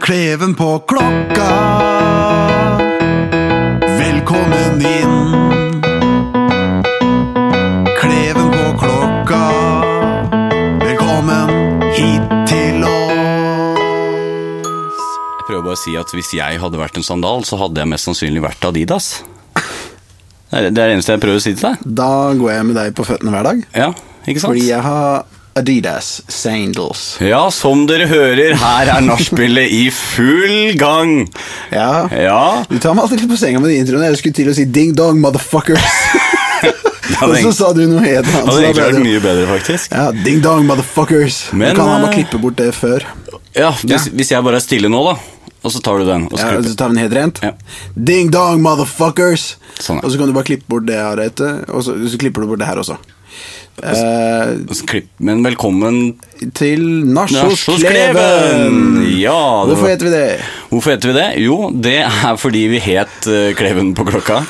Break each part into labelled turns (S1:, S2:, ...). S1: Kleven på klokka. Velkommen inn. Kleven på klokka. Velkommen hit til oss.
S2: Jeg prøver bare å si at hvis jeg hadde vært en sandal, så hadde jeg mest sannsynlig vært Adidas. Det er det er det eneste jeg prøver å si til deg.
S1: Da går jeg med deg på føttene hver dag.
S2: Ja, ikke sant?
S1: Fordi jeg har Adidas sandals.
S2: Ja, som dere hører, her er nachspielet i full gang.
S1: Ja.
S2: Ja,
S1: Du tar meg alltid litt på senga med de introene. Jeg skulle til å si ding dong, motherfuckers. Og
S2: hadde
S1: så sa du noe helt annet.
S2: det hadde
S1: så da
S2: egentlig
S1: ble
S2: vært
S1: det-
S2: mye bedre, faktisk.
S1: Ja, ding dong, motherfuckers.
S2: Men,
S1: Men, kan han må
S2: eh,
S1: klippe bort det før.
S2: Ja, hvis, hvis jeg bare er stille nå, da, og så tar du den. Og så
S1: Ja,
S2: klipper-
S1: så tar vi den helt rent.
S2: Ja.
S1: Ding dong, motherfuckers.
S2: Sånn, ja.
S1: Og så kan du bare klippe bort det her etter, og så, så klipper du bort det her også. Eh,
S2: og så klipp, men velkommen
S1: til
S2: Nachos
S1: Nachos-Kleven.
S2: Kleven! Ja, det
S1: Hvorfor
S2: var-
S1: heter vi det?
S2: Hvorfor heter vi det? Jo, det er fordi vi het eh, Kleven på klokka.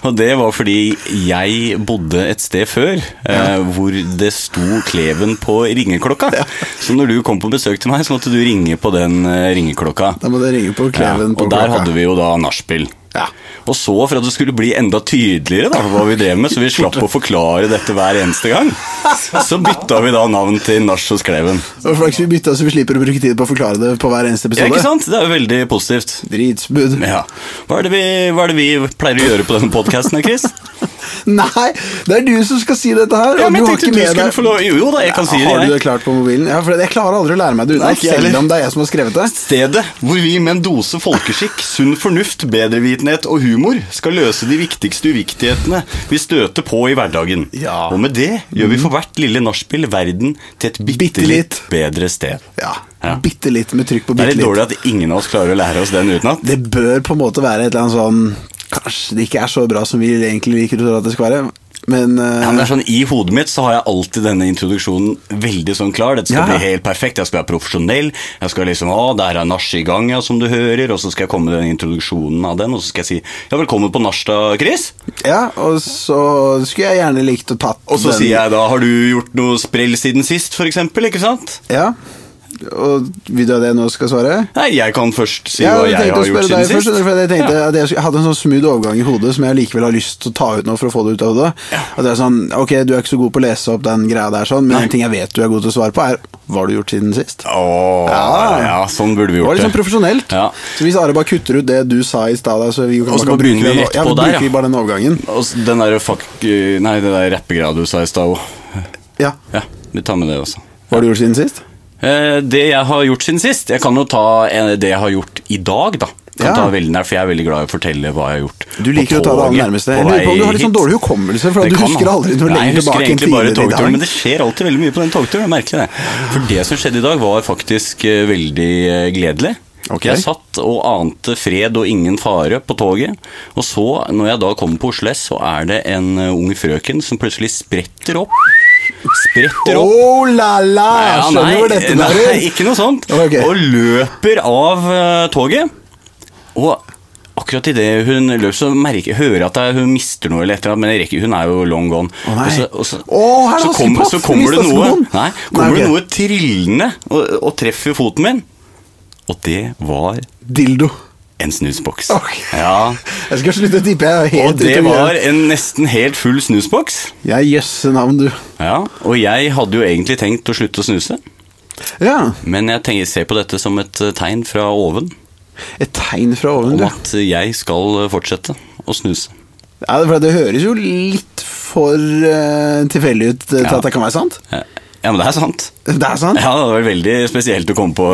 S2: og det var fordi jeg bodde et sted før eh, hvor det sto Kleven på ringeklokka. Så når du kom på besøk til meg, så måtte du ringe på den eh, ringeklokka.
S1: Da må det ringe på
S2: Ja,
S1: Kleven.
S2: og
S1: på
S2: der
S1: klokka.
S2: hadde vi jo da nachspiel.
S1: Ja.
S2: Og så, for at det skulle bli enda tydeligere da, hva vi drev med, så vi slapp å forklare dette hver eneste gang, så bytta vi da navn til Nach hos Kleven.
S1: Og flaks vi bytta, så vi slipper å bruke tid på å forklare det på hver eneste episode.
S2: Ja, ikke sant? Det er jo veldig positivt.
S1: Dritsbud.
S2: Ja. Hva er, det vi, hva er det vi pleier å gjøre på denne podkasten, Chris?
S1: Nei, det er du som skal si dette her.
S2: Ja,
S1: og
S2: men
S1: du
S2: jeg
S1: har
S2: tenkte
S1: ikke
S2: du
S1: med
S2: skulle
S1: deg
S2: få lov Jo da, jeg kan si det.
S1: Har du det
S2: Jeg.
S1: klart på mobilen? Ja, for Jeg klarer aldri å lære meg det
S2: Nei,
S1: utenat,
S2: ikke jeg
S1: selv
S2: heller.
S1: om det er jeg som har skrevet det.
S2: Stedet hvor vi med en dose folkeskikk, sunn fornuft, bedrevitenhet og humor skal løse de viktigste uviktighetene vi støter på i hverdagen.
S1: Ja.
S2: Og med det gjør vi for hvert lille nachspiel verden til et bitte litt
S1: litt.
S2: bedre sted.
S1: Ja,
S2: Ja.
S1: Bitte litt med trykk på
S2: Det
S1: bitte
S2: er litt
S1: litt.
S2: dårlig at ingen av oss klarer å lære oss den utenat.
S1: Det bør på en måte være et eller annet sånn Kanskje det ikke er så bra som vi egentlig liker å tro at det skal være, men eh,
S2: Ja, men det er sånn, I hodet mitt så har jeg alltid denne introduksjonen veldig sånn klar. Dette skal
S1: Ja.
S2: bli helt perfekt, jeg skal være profesjonell. Jeg skal liksom, å, Der er nach i gang, ja, som du hører. Og så skal jeg komme med den introduksjonen av den, og så skal jeg si ja, velkommen på nach da, Chris.
S1: ja, og så skulle jeg gjerne likt å tatt
S2: Og så
S1: den
S2: sier jeg da har du gjort noe sprell siden sist, for eksempel, ikke sant?
S1: Ja. Og vil du ha det jeg nå skal svare?
S2: Nei, jeg kan først si
S1: Ja,
S2: hva
S1: jeg
S2: jeg
S1: tenkte å
S2: har
S1: spørre
S2: gjort
S1: deg
S2: siden
S1: først,
S2: sist.
S1: skjønner du, for jeg tenkte at jeg skulle- hadde en sånn smooth overgang i hodet som jeg likevel har lyst til å ta ut nå for å få det ut av hodet. At det er sånn, ok, du er ikke så god på å lese opp den greia der sånn, men en ting jeg vet du er god til å svare på er, hva har du gjort siden sist? Det
S2: Åh,
S1: Ja.
S2: ja. sånn burde vi
S1: var
S2: gjort
S1: litt
S2: det.
S1: sånn profesjonelt.
S2: Ja.
S1: Så hvis Are bare kutter ut det du sa i stad der, så vi kan
S2: Og så
S1: bare bruke
S2: begynner vi
S1: den-
S2: rett
S1: ja,
S2: på der,
S1: bruker
S2: ja.
S1: vi bare den overgangen.
S2: Og s- den der fuck eh, Nei, det der rappegreia du sa i stad òg.
S1: Ja.
S2: Ja, vi tar med det også.
S1: Hva har du gjort siden sist?
S2: Eh, Det jeg har gjort siden sist Jeg kan jo ta eh, det jeg har gjort i dag, da. Kan
S1: Ja.
S2: ta veldig nær, for Jeg er veldig glad i å fortelle hva jeg har gjort.
S1: Du liker
S2: på
S1: å ta det aller
S2: toget,
S1: nærmeste.
S2: på
S1: Jeg lurer på om
S2: vei
S1: du har litt sånn
S2: hit.
S1: dårlig hukommelse, for at
S2: Det
S1: du
S2: kan
S1: husker
S2: han.
S1: aldri noe
S2: Nei,
S1: lenger
S2: jeg husker
S1: tilbake enn
S2: egentlig
S1: tidligere
S2: bare
S1: i dag.
S2: togturen, men det skjer alltid veldig mye på den togturen. Jeg merker det. For det som skjedde i dag, var faktisk eh, veldig eh, gledelig.
S1: Ok.
S2: Jeg satt og ante fred og ingen fare på toget. Og så, når jeg da kommer på Oslo S, så er det en eh, ung frøken som plutselig spretter opp. Spretter opp.
S1: Oh la la!
S2: Ja,
S1: Skjønner du hvor
S2: nei,
S1: dette
S2: nei,
S1: der er?
S2: ikke noe sånt.
S1: Ok.
S2: Og løper av eh, toget. Og akkurat idet hun løper, så merker, hører jeg at jeg- hun mister noe, eller et eller annet, men jeg rekker, hun er jo long gone.
S1: Å, nei.
S2: Og så, og så,
S1: Å, her er
S2: så,
S1: det
S2: kommer-
S1: Askepott,
S2: så kommer det
S1: mista
S2: noe,
S1: skoen.
S2: nei, kommer
S1: Nei,
S2: det
S1: ok.
S2: noe trillende og, og treffer foten min. Og det var
S1: Dildo.
S2: en snusboks.
S1: Ok.
S2: Ja.
S1: Jeg skal slutte å tippe. Jeg er helt
S2: Og det
S1: ute å gjøre.
S2: var en nesten helt full snusboks.
S1: Ja, jøsse navn, du.
S2: Ja, og jeg hadde jo egentlig tenkt å slutte å snuse.
S1: Ja,
S2: Men jeg tenker, ser på dette som et eh, tegn fra oven
S1: Et tegn fra oven,
S2: om
S1: du.
S2: at jeg skal eh, fortsette å snuse.
S1: Ja, for Det høres jo litt for eh, tilfeldig ut eh, til
S2: Ja.
S1: at det kan være sant.
S2: Ja, ja, men det er sant.
S1: Det er sant.
S2: Ja, Det var veldig spesielt å komme på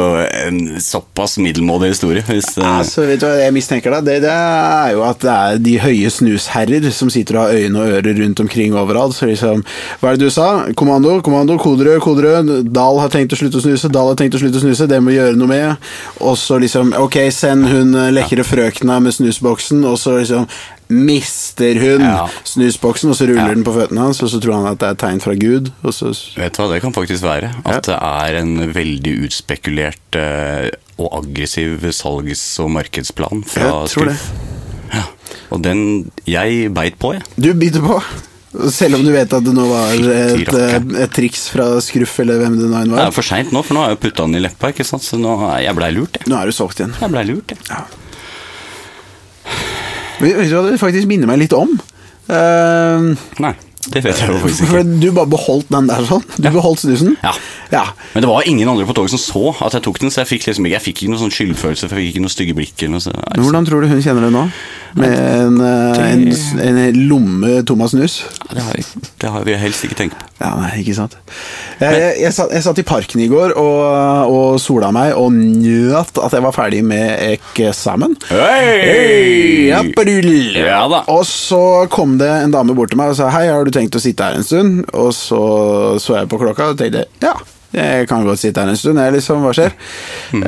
S2: en såpass middelmådig historie. Hvis, eh,
S1: Altså, vet du hva jeg mistenker da? Det, det er jo at det er de høye snusherrer som sitter og har øyne og ører rundt omkring overalt. Så liksom, hva er det du sa? Kommando, kommando, koderød, koderød. Dahl har tenkt å slutte å snuse, Dahl har tenkt å slutte å snuse, det må vi gjøre noe med. Og så liksom, ok, send hun eh, lekre frøkna med snusboksen, og så liksom mister hun
S2: Ja.
S1: snusboksen, og så ruller
S2: Ja.
S1: den på føttene hans, og så tror han at det er et tegn fra Gud, og så
S2: vet du hva, det kan faktisk være. At det er en veldig utspekulert eh, og aggressiv salgs- og markedsplan fra
S1: Jeg tror det.
S2: Skruf. Ja. Og den jeg beit på, jeg.
S1: Du biter på. Selv om du vet at det nå var et,
S2: Fytti rakkeren.
S1: eh, et triks fra Skruff eller hvem det nå enn
S2: Det
S1: var.
S2: er for seint nå, for nå har jeg putta den i leppa, ikke sant? så nå er jeg blei lurt, jeg.
S1: Nå er du solgt igjen.
S2: Jeg blei lurt, jeg.
S1: Vet vet du hva det faktisk minner meg litt om? Eh,
S2: Nei, det vet jeg jo faktisk
S1: for
S2: ikke.
S1: du bare beholdt den der sånn? Du beholdt snusen?
S2: Ja.
S1: ja.
S2: Men det var ingen andre på toget som så at jeg tok den, så jeg fikk liksom ikke, jeg fikk ikke noen sånn skyldfølelse, for jeg fikk ikke noe stygge blikk eller noe sånt.
S1: Men Hvordan tror du hun kjenner det nå? Med en, eh, en, s- en lomme tom av snus?
S2: Nei, Det har, jeg, det har vi helst ikke tenkt på.
S1: Ja, nei, ikke sant. Jeg, jeg, jeg, satt, jeg satt i parken i går og, og sola meg og nøt at jeg var ferdig med eksamen.
S2: Hei!
S1: Ja, brull.
S2: Ja da.
S1: Og så kom det en dame bort til meg og sa Hei, har du tenkt å sitte her en stund? Og så så jeg på klokka og tenkte ja, jeg kan godt sitte her en stund. Jeg liksom, hva skjer?
S2: Jeg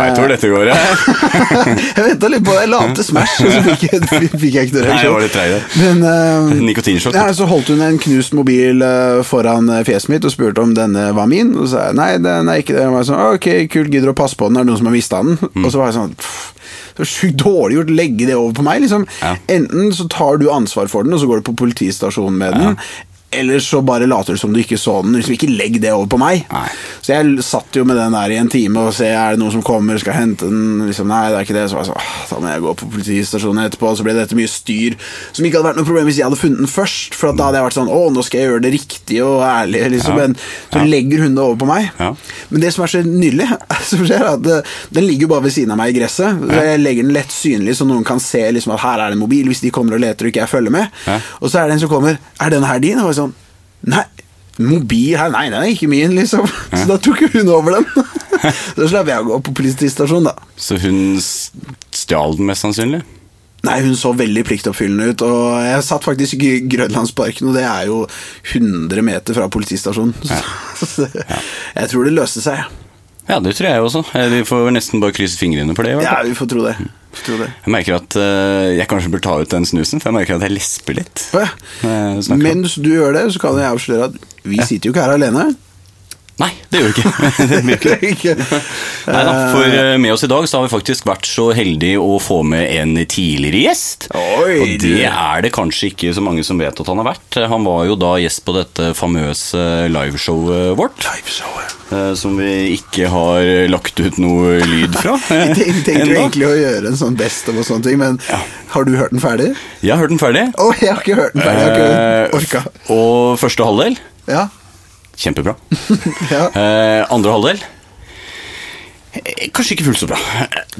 S2: veit hvor dette går, jeg.
S1: jeg venta litt på det. Jeg la om til Smash, og så fikk jeg, fikk jeg ikke noe
S2: Nei, jeg var
S1: reaksjon.
S2: litt treig der.
S1: Men eh,
S2: Nikotinsjokk.
S1: ja, så holdt hun en knust mobil eh, foran eh, fjeset mitt og spurte om denne var min. Og så sa jeg nei, den er ikke det. Og jeg var sånn, ok, kult, gidder du å passe på den? Er det noen som har mista den?
S2: Mm.
S1: Og så var jeg sånn pff, så sjukt dårlig gjort å legge det over på meg. liksom.
S2: Ja.
S1: Enten så tar du ansvar for den, og så går du på politistasjonen med den. Eller så bare later du som du ikke så den. Liksom Ikke legg det over på meg.
S2: Nei.
S1: Så jeg satt jo med den der i en time og se er det noen som kommer, skal jeg hente den. Liksom, nei, det er ikke det. Så var jeg sånn, «Åh, da må jeg gå på politistasjonen etterpå. Så ble dette mye styr som ikke hadde vært noe problem hvis jeg hadde funnet den først. For at da hadde jeg vært sånn å, nå skal jeg gjøre det riktig og ærlig. Liksom.
S2: Ja.
S1: Men så legger hun det over på meg.
S2: Ja.
S1: Men det som er så nydelig, som skjer, er at eh, den ligger jo bare ved siden av meg i gresset. Så Jeg legger den lett synlig, så noen kan se liksom, at her er det en mobil, hvis de kommer og leter og ikke jeg følger med.
S2: Ja.
S1: Og så er det en som kommer, er den her din? Og jeg sånn, nei, mobil her, nei, den er ikke min, liksom. Så da tok jo hun over den. Så slapp jeg å gå på politistasjonen, da.
S2: Så hun s- stjal den mest sannsynlig?
S1: Nei, hun så veldig pliktoppfyllende ut, og jeg satt faktisk i Grønlandsparken, og det er jo 100 meter fra politistasjonen. Så jeg tror det løste seg.
S2: Ja, det tror jeg også. Eh, Vi får nesten bare krysse fingrene for det. i hvert
S1: Ja,
S2: fall.
S1: vi får tro det. Vi får tro det.
S2: Jeg merker at eh, jeg kanskje bør ta ut den snusen, for jeg merker at jeg lesper litt.
S1: Å ja.
S2: når jeg snakker om-
S1: Mens du gjør det, så kan jeg avsløre at vi sitter jo ikke her alene.
S2: Nei, det gjør vi ikke. det blir ikke.
S1: Ikke.
S2: Nei da, for eh, med oss i dag så har vi faktisk vært så heldige å få med en tidligere gjest.
S1: Oi,
S2: og
S1: du.
S2: det er det kanskje ikke så mange som vet at han har vært. Han var jo da gjest på dette famøse liveshowet vårt.
S1: Liveshowet.
S2: eh, Som vi ikke har lagt ut noe lyd fra. eh,
S1: Jeg tenk- tenkte jo
S2: enda.
S1: egentlig å gjøre en sånn best of og sånne ting, men har du hørt den ferdig?
S2: Jeg har hørt den ferdig.
S1: Å, jeg har ikke hørt den ferdig. Jeg har
S2: Eh,
S1: ikke orka.
S2: Og første halvdel
S1: Ja.
S2: kjempebra.
S1: ja.
S2: Eh, andre halvdel eh, kanskje ikke fullt så bra.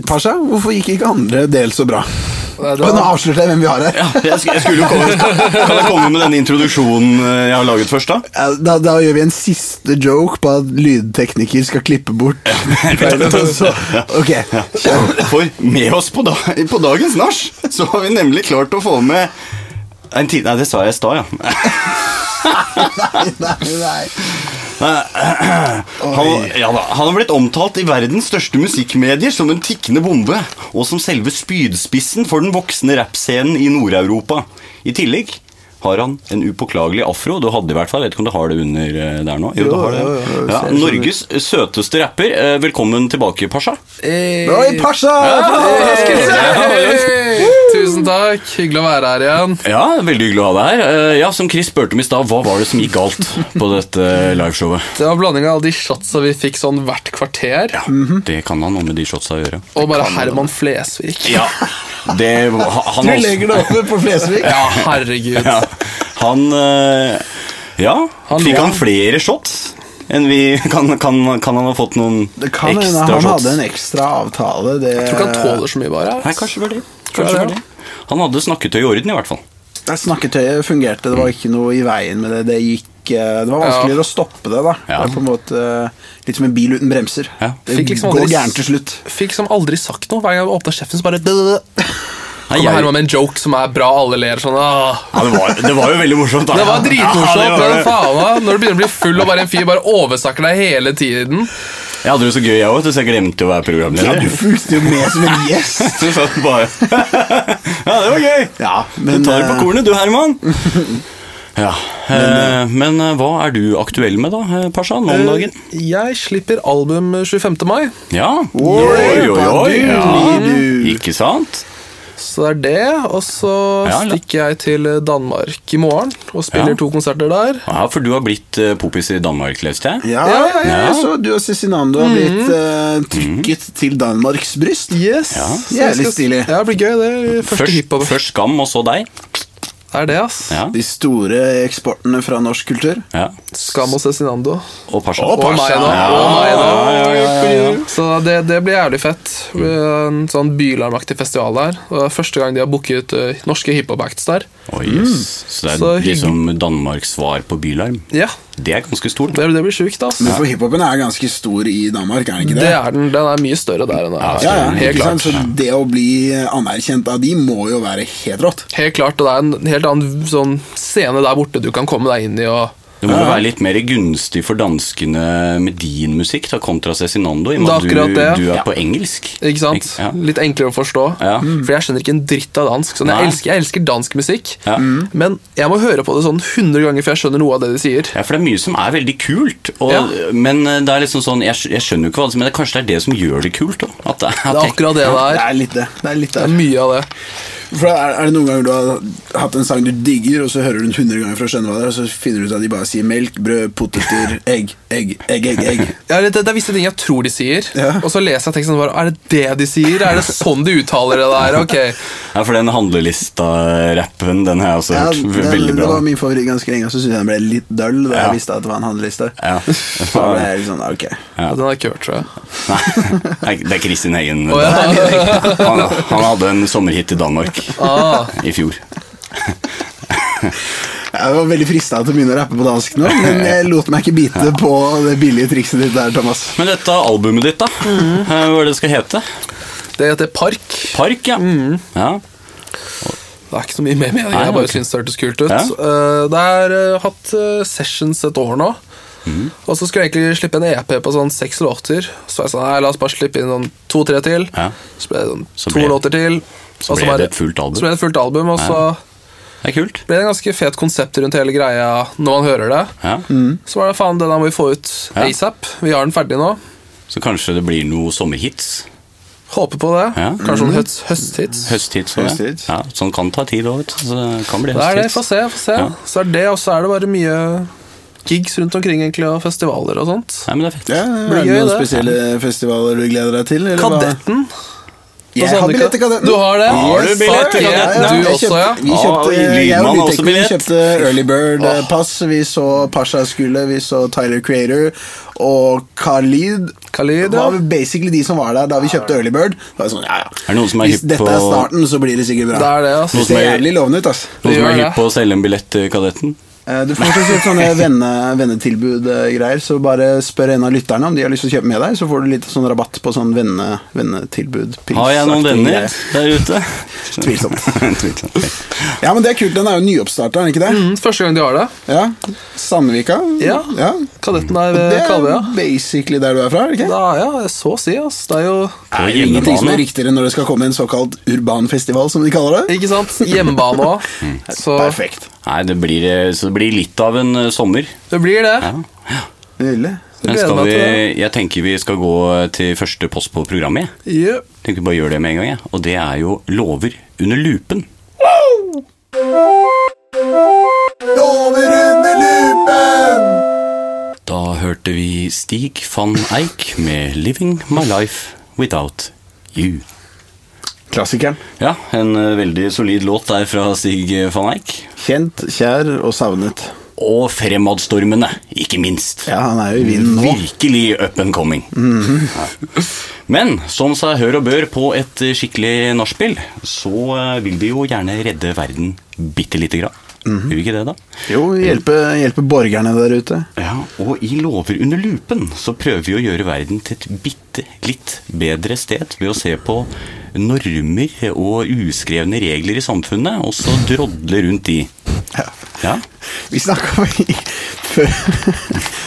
S1: Pasha, hvorfor gikk ikke andre del så bra?
S3: Nei,
S1: Å,
S3: det
S1: Nå
S3: var-
S1: avslørte jeg hvem vi har her.
S2: Ja, jeg, sk- jeg skulle jo komme, kan jeg komme med denne introduksjonen eh, jeg har laget først, da?
S1: Ja, Eh, Da, da gjør vi en siste joke på at lydtekniker skal klippe bort Og så- altså, Ok,
S2: For med oss på, da, på dagens nach så har vi nemlig klart å få med en tid, Nei, det sa jeg i stad, ja.
S1: nei, nei, nei
S2: Han, ja da, han har blitt omtalt i verdens største musikkmedier som en tikkende bombe, og som selve spydspissen for den voksende rappscenen i Nord-Europa. I tillegg har han en upåklagelig afro. Du hadde i hvert fall, jeg vet ikke om du har det under eh, der nå?
S1: Jo,
S2: du har det.
S1: jo, jo, jeg
S2: ja,
S1: ser det.
S2: Norges søteste rapper. Eh, Velkommen tilbake, Pasha.
S3: Hey.
S1: Oi, Pasha!
S3: Hey. Tusen takk. Hyggelig å være her igjen.
S2: Ja, veldig hyggelig å ha deg her. Eh, Ja, Som Chris spurte om i stad, hva var det som gikk galt på dette liveshowet?
S3: Det var en blanding av alle de shotsa vi fikk sånn hvert kvarter,
S2: Ja,
S1: Mhm.
S2: Det kan han noe med de shotsa å gjøre.
S3: og bare Herman Flesvig.
S2: Ja, det var- han
S1: Du legger det oppe på Flesvig
S3: Ja, herregud.
S2: Ja, han eh, Ja,
S3: Han
S2: fikk
S3: lå-
S2: han flere shots? Enn vi, kan, kan, kan han ha fått noen
S1: Det kan hende
S2: ekstra
S1: han
S2: shots?
S1: hadde en ekstra avtale det...
S3: Jeg tror ikke han tåler så mye, bare.
S2: Nei, kanskje var det.
S3: Tror jeg
S2: Kanskje var
S3: det,
S2: det. Han hadde snakketøy i orden, i hvert fall.
S1: Nei, Snakketøyet fungerte, det var ikke noe i veien med det Det, gikk, eh, det var vanskeligere å stoppe det da
S2: Ja.
S1: Det er på en måte eh, litt som en bil uten bremser
S2: Ja.
S1: Det
S3: Fikk liksom
S1: går
S3: aldri-
S1: gærent til slutt
S3: Fikk som aldri sagt noe. Hver gang jeg åpna kjeften, så bare Kommer
S2: Nei, jeg-
S3: Herman med en joke som er bra, alle ler sånn. Ah.
S2: ja, det, var, det var jo veldig morsomt, da.
S3: Det var dritmorsomt.
S2: Ja, det var
S3: men
S2: det.
S3: faen meg, Når du begynner å bli full og bare en fyr bare oversnakker deg hele tiden.
S2: Jeg hadde det så gøy, jeg òg, så jeg glemte å være
S1: Ja,
S2: programleder.
S1: du fulgte jo med som en gjest
S2: Så satt den bare Ja, det var gøy!
S1: Ja,
S2: Du
S1: men
S2: tar det
S1: eh,
S2: på kornet, du, Herman. Ja, eh, Men eh, hva er du aktuell med, da, eh, Pasha, nå om dagen?
S3: Jeg slipper album 25. mai.
S2: Ja.
S1: Oi,
S2: Oi, oi, oi.
S1: baduli,
S2: Ja.
S1: du.
S2: Ikke sant?
S3: Så det er det. Og så
S2: Ja, la-
S3: stikker jeg til Danmark i morgen og spiller
S2: Ja.
S3: to konserter der.
S2: Ja, for du har blitt eh, popis i Danmark, leste jeg.
S1: Ja, ja,
S3: Ja,
S1: ja,
S2: ja. Mm.
S1: Så du og Cezinando har blitt eh, trykket til Danmarks bryst.
S3: Yes.
S2: Ja.
S3: Så jeg
S1: Jævlig
S3: skal-
S1: stilig.
S3: Ja, det blir gøy. Det er første
S2: Først,
S3: hiphop.
S2: først Skam, og så deg.
S3: Det er det, ass.
S2: Ja,
S1: De store eksportene fra norsk kultur.
S2: ja.
S3: Skam og Cezinando.
S2: Og Pasha.
S1: Og
S3: Og meg,
S1: Pasha.
S3: da. Og meg, da.
S2: Ja, ja, ja, ja, ja.
S3: Så det, det blir jævlig fett. Det blir En sånn bylarmaktig festival der. Og det er første gang de har booket eh, norske hiphop-acts der.
S2: Oi, yes. Så det er
S3: Så hyggelig.
S2: liksom Danmarks svar på Bylarm.
S3: Ja,
S2: Det er ganske stort.
S3: det, det blir sjukt, ass.
S1: Men for hiphopen er ganske stor i Danmark, er den ikke det?
S3: Det er den. Den er mye større der enn den er.
S1: Ja, ja,
S3: Helt
S1: ikke sant?
S3: klart.
S1: Så det å bli anerkjent av de må jo være helt rått.
S3: Helt klart, og det er en helt annen sånn scene der borte du kan komme deg inn i og
S2: Det må jo være litt mer gunstig for danskene med din musikk da, kontra Cezinando, i og
S3: Det er
S2: med
S3: akkurat
S2: at
S3: det.
S2: du, du er på engelsk.
S3: ikke sant?
S2: Ja.
S3: Litt enklere å forstå.
S2: Ja.
S3: For jeg skjønner ikke en dritt av dansk. Sånn,
S2: Nei.
S3: jeg, elsker, jeg elsker dansk musikk,
S2: Ja. Mm.
S3: men jeg må høre på det sånn 100 ganger før jeg skjønner noe av det de sier.
S2: Ja, for det er mye som er veldig kult, og,
S3: Ja.
S2: men eh, det er liksom sånn, jeg, skj- jeg skjønner jo ikke hva det er, men det, kanskje det er det som gjør det kult. Da, at det,
S3: Det
S2: at
S3: er akkurat
S1: Det
S3: det det er.
S1: er litt det. det, er litt
S3: Det
S1: det.
S3: er mye av det.
S1: For er, er det noen ganger du har hatt en sang du digger, og så hører du den 100 ganger for å skjønne hva det er, og så finner du ut at de bare sier melk, brød, poteter, egg, egg, egg, egg, egg.
S3: Ja, det, det er visse ting jeg tror de sier,
S1: Ja.
S3: og så leser jeg teksten og bare Er det det de sier? Er det sånn de uttaler det der? Ok.
S2: Ja, for den handlelista-rappen, den har jeg også
S1: Ja,
S2: hørt.
S1: den,
S2: veldig
S1: det
S2: bra.
S1: var min favoritt ganske lenge, og så syntes jeg den ble litt døll da
S2: Ja.
S1: jeg visste at det var en handleliste.
S2: Ja.
S1: Så ble jeg litt sånn, ok.
S2: Ja.
S3: Den har jeg ikke hørt, tror jeg.
S2: Nei, det er Kristin Heggen.
S3: Å, ja.
S2: han, han hadde en sommerhit i Danmark
S3: Ah,
S2: i fjor.
S1: Jeg var veldig frista til å begynne å rappe på dansk nå, men jeg lot meg ikke bite på det billige trikset ditt der, Thomas.
S2: Men dette albumet ditt, da? eh, Hva er det det skal hete?
S3: det heter Park.
S2: Park, ja. ja.
S3: Det er ikke så mye mer med det.
S2: Nei,
S3: Jeg bare
S2: ok.
S3: synes det hørtes kult ut.
S2: Ja.
S3: Eh, det er eh, hatt eh, sessions et år nå.
S2: Mhm.
S3: Og så skulle jeg egentlig slippe en EP på sånn seks låter. Så var jeg sånn, nei, la oss bare slippe inn sånn to-tre til.
S2: Ja.
S3: Så ble det sånn
S2: Så
S3: to
S2: ble-
S3: låter til.
S2: så
S3: og
S2: ble
S3: bare-
S2: det et fullt album.
S3: Så ble det et fullt album, og så
S2: Det er kult.
S3: ble det en ganske fet konsept rundt hele greia når man hører det.
S2: Ja.
S3: Så var det faen, den her må vi få ut
S2: Mhm. Ja.
S3: asap. Vi har den ferdig nå.
S2: Så kanskje det blir noe sommerhits?
S3: Håper på det.
S2: Ja. Mhm.
S3: Kanskje noen høst, høsthits.
S2: Høsthits? også, Ja.
S1: Høsthits.
S2: Ja, sånn kan ta tid òg, vet du. Så det kan bli
S3: Det er det. Få
S2: høsthits.
S3: se. Få se.
S2: Ja.
S3: Så er det, og så er det bare mye gigs rundt omkring, egentlig, og festivaler og sånt.
S2: Nei, men det er fett.
S1: Ja,
S3: Blir
S1: er det
S3: gøy,
S1: noen
S3: det.
S1: spesielle festivaler du gleder deg til? eller hva?
S3: Kadetten.
S1: Jeg
S3: Hos
S1: har
S3: Henrik.
S1: billett til Kadetten.
S3: Du har det?
S2: Har du
S3: Yes,
S2: billett til
S3: fuck yeah.
S2: Kadetten, ja?
S3: Du
S1: jeg
S3: også,
S1: kjøpte-
S3: ja? Ah,
S1: Vi
S2: Å,
S1: kjøpte, jeg
S2: Lydmann
S1: og
S2: har også
S1: Lydteknikeren
S2: billett.
S1: kjøpte Early Bird eh, Pass. Vi så Pasha Skule, vi så Tyler Creator og Khalid.
S3: Khalid,
S1: Det
S3: ja.
S1: var basically de som var der da vi kjøpte Early Bird. Det var sånn, ja,
S2: Er
S1: ja.
S2: det noen som er
S1: Hvis
S2: hypp
S1: dette er
S2: på-
S1: starten, så blir det sikkert bra.
S3: Det er det, ass.
S1: Det
S2: Noen som
S1: ser
S2: er-
S1: jævlig lovende ut, ass.
S2: Noen som
S3: gjør
S2: er
S3: det.
S2: hypp på å selge en billett til Kadetten?
S1: Eh, Du får fortsatt sånne venne, vennetilbud-greier, så bare spør en av lytterne om de har lyst til å kjøpe med deg, så får du litt sånn rabatt på sånn venne, vennetilbud.
S2: Har jeg noen
S1: prisaktig
S2: venner
S1: greie.
S2: der ute?
S1: Tvilsomt.
S2: Tvilsomt.
S1: Ja, men det er kult. Den er jo nyoppstarta, er den ikke det?
S3: Mm, Første gang de har det.
S1: Ja. Sandvika.
S3: Ja. Kadetten er
S1: Og
S3: ved
S1: det er
S3: Kalvøya.
S1: basically der du er fra, er det ikke?
S3: Ja, ja, så å si, ass. Det er jo
S2: På
S1: Det er jo ingenting som er
S2: hjemmebane.
S1: riktigere når det skal komme en såkalt urban festival, som de kaller det.
S3: Ikke sant? Hjemmebane òg. Så
S1: Mm. Perfekt.
S2: Nei, det blir, så det blir litt av en eh, sommer.
S3: det blir det.
S2: Ja.
S1: Nydelig.
S2: Men
S3: Gleder
S2: skal
S3: meg
S2: vi,
S3: til det.
S2: jeg tenker vi skal gå eh, til første post på programmet. jeg.
S3: Yep.
S2: Jeg tenker vi bare gjør det med en gang, jeg. Og det er jo lover under lupen.
S1: Over under lupen!
S2: Da hørte vi Stig van Eijk med 'Living My Life Without You'.
S1: Klassikeren.
S2: Ja, en eh, veldig solid låt der fra Stig van Eijk.
S1: Kjent, kjær og savnet.
S2: Og Fremadstormene, ikke minst.
S1: Ja, han er jo i vinden nå.
S2: Virkelig up and coming. Ja. Men som seg hør og bør på et eh, skikkelig nachspiel, så eh, vil vi jo gjerne redde verden bitte lite grann. Vil vi ikke det, da?
S1: Jo, hjelpe, hjelpe borgerne der ute.
S2: Ja, og i Lover under lupen så prøver vi å gjøre verden til et bitte litt bedre sted ved å se på normer og uskrevne regler i samfunnet, og så drodle rundt de.
S1: Ja.
S2: Ja,
S1: Vi snakka vel i Før,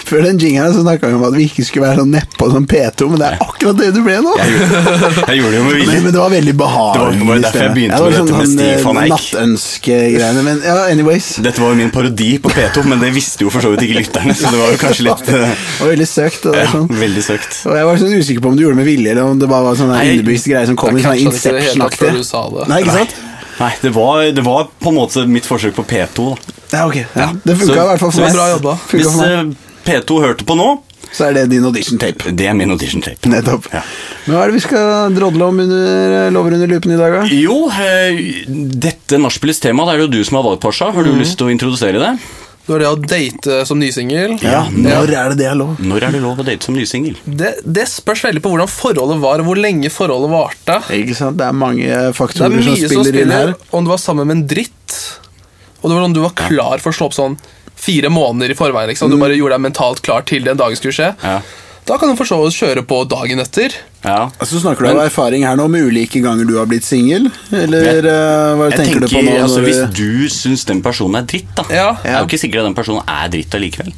S1: før den jingeren så snakka vi om at vi ikke skulle være sånn nedpå som P2, men det er akkurat det du ble nå!
S2: Jeg gjorde, jeg gjorde det jo med
S1: Nei,
S2: vilje.
S1: men det var veldig behagelig.
S2: Det var- det var derfor jeg
S1: stemme.
S2: begynte
S1: Ja, det var
S2: med
S1: sånn
S2: dette med
S1: sånn,
S2: Stig
S1: eh,
S2: van Eyck.
S1: Nattønskegreiene. Men ja, anyways.
S2: Dette var jo min parodi på P2, men det visste jo for så vidt ikke lytterne. Så det var jo kanskje litt eh,
S1: Det var veldig søkt. Og, det
S2: ja,
S1: er sånn.
S2: veldig søkt.
S1: og jeg var sånn usikker på om du gjorde det med vilje, eller om det bare var sånn
S2: Nei,
S1: underbevisst greie som kom i
S3: jeg
S1: sånn
S3: catchet ikke det helt opp
S1: Inception-aktig.
S3: før du sa det.
S1: Nei, ikke sant?
S2: Nei, det var, det var på en måte mitt forsøk på P2. Da.
S1: Ja, ok. Ja, det funka
S2: Så-
S1: i hvert fall for
S2: så
S1: meg.
S2: hvis-
S3: Bra jobba.
S1: Funka
S2: Hvis
S1: for meg.
S2: eh, P2 hørte på nå,
S1: Så er det din audition tape.
S2: det er min audition tape.
S1: Nettopp.
S2: Ja.
S1: Men hva er det vi skal drodle om under eh, Lover under lupen i dag, da?
S2: Jo, eh, dette nachspielets tema det er det jo du som har valgt, Pasha.
S1: Mhm.
S2: Har du lyst til å introdusere det?
S3: Det var det å date eh, som nysingel.
S1: Ja, når er det det er lov?
S2: Når er det lov å date som nysingel?
S3: Det, det spørs veldig på hvordan forholdet var, og hvor lenge forholdet varte.
S1: Ikke sant? Det er mange eh,
S3: Det er
S1: faktorer
S3: mye
S1: som spiller, inn her.
S3: om du var sammen med en dritt, og det var om du var klar for å slå opp sånn fire måneder i forveien. Liksom. Du
S1: Mm.
S3: bare gjorde deg mentalt klar til den dagen skulle skje.
S2: Ja.
S3: Da kan du for så vidt kjøre på dagen etter.
S2: Ja.
S1: Altså, snakker du av erfaring her nå med ulike ganger du har blitt singel? Eller
S2: Jeg-
S1: eh, hva
S2: Jeg
S1: tenker,
S2: tenker,
S1: du på nå?
S2: altså,
S1: når
S2: Hvis
S1: du...
S2: du syns den personen er dritt, da
S3: Ja.
S2: Jeg er jo ikke sikker at den personen er dritt allikevel.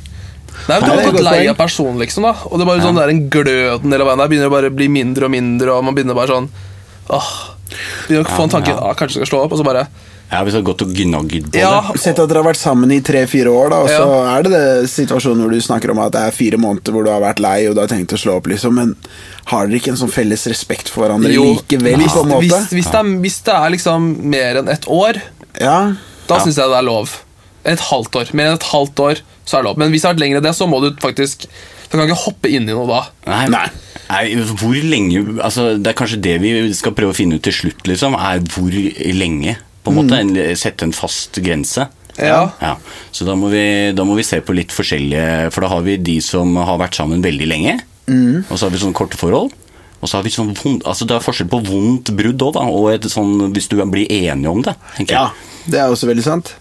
S1: Nei,
S3: Nei, men Du
S1: det
S3: har
S1: er
S3: gått
S1: godt
S3: lei
S1: poeng.
S3: av personen, liksom. da Og det er bare sånn, det er en gløden hele veien der begynner det bare å bli mindre og mindre, og man begynner bare sånn Åh Begynner å få en tanke
S2: ja.
S3: ah, Kanskje jeg skal slå opp, og så bare
S2: Ja, Hvis du har gått og gnagd på
S3: Ja,
S2: det.
S1: Sett at dere har vært sammen i tre-fire år, da, og så
S3: Ja.
S1: er det det situasjonen hvor du snakker om at det er fire måneder hvor du har vært lei og du har tenkt å slå opp, liksom, men har dere ikke en sånn felles respekt for hverandre likevel,
S3: hvis,
S1: på en måte?
S3: hvis, hvis, det er, hvis det er liksom mer enn ett år,
S1: Ja.
S3: da synes syns jeg det er lov. Et halvt år. Mer enn et halvt år, så er det lov. Men hvis det har vært lenger enn det, så må du faktisk Du kan ikke hoppe inn i noe da.
S2: Nei.
S1: Nei.
S2: Nei, hvor lenge altså, Det er kanskje det vi skal prøve å finne ut til slutt, liksom. Er hvor lenge, på en måte.
S1: Mm.
S2: En- Sette en fast grense.
S3: Ja.
S2: Ja, Så da må, vi, da må vi se på litt forskjellige For da har vi de som har vært sammen veldig lenge.
S1: Mm.
S2: Og så har vi sånne korte forhold. Og så har vi sånn vond, altså Det er forskjell på vondt brudd òg, da. Og et sånn, hvis du blir enige om det. tenker
S1: ja.
S2: jeg.
S1: Det er også veldig sant.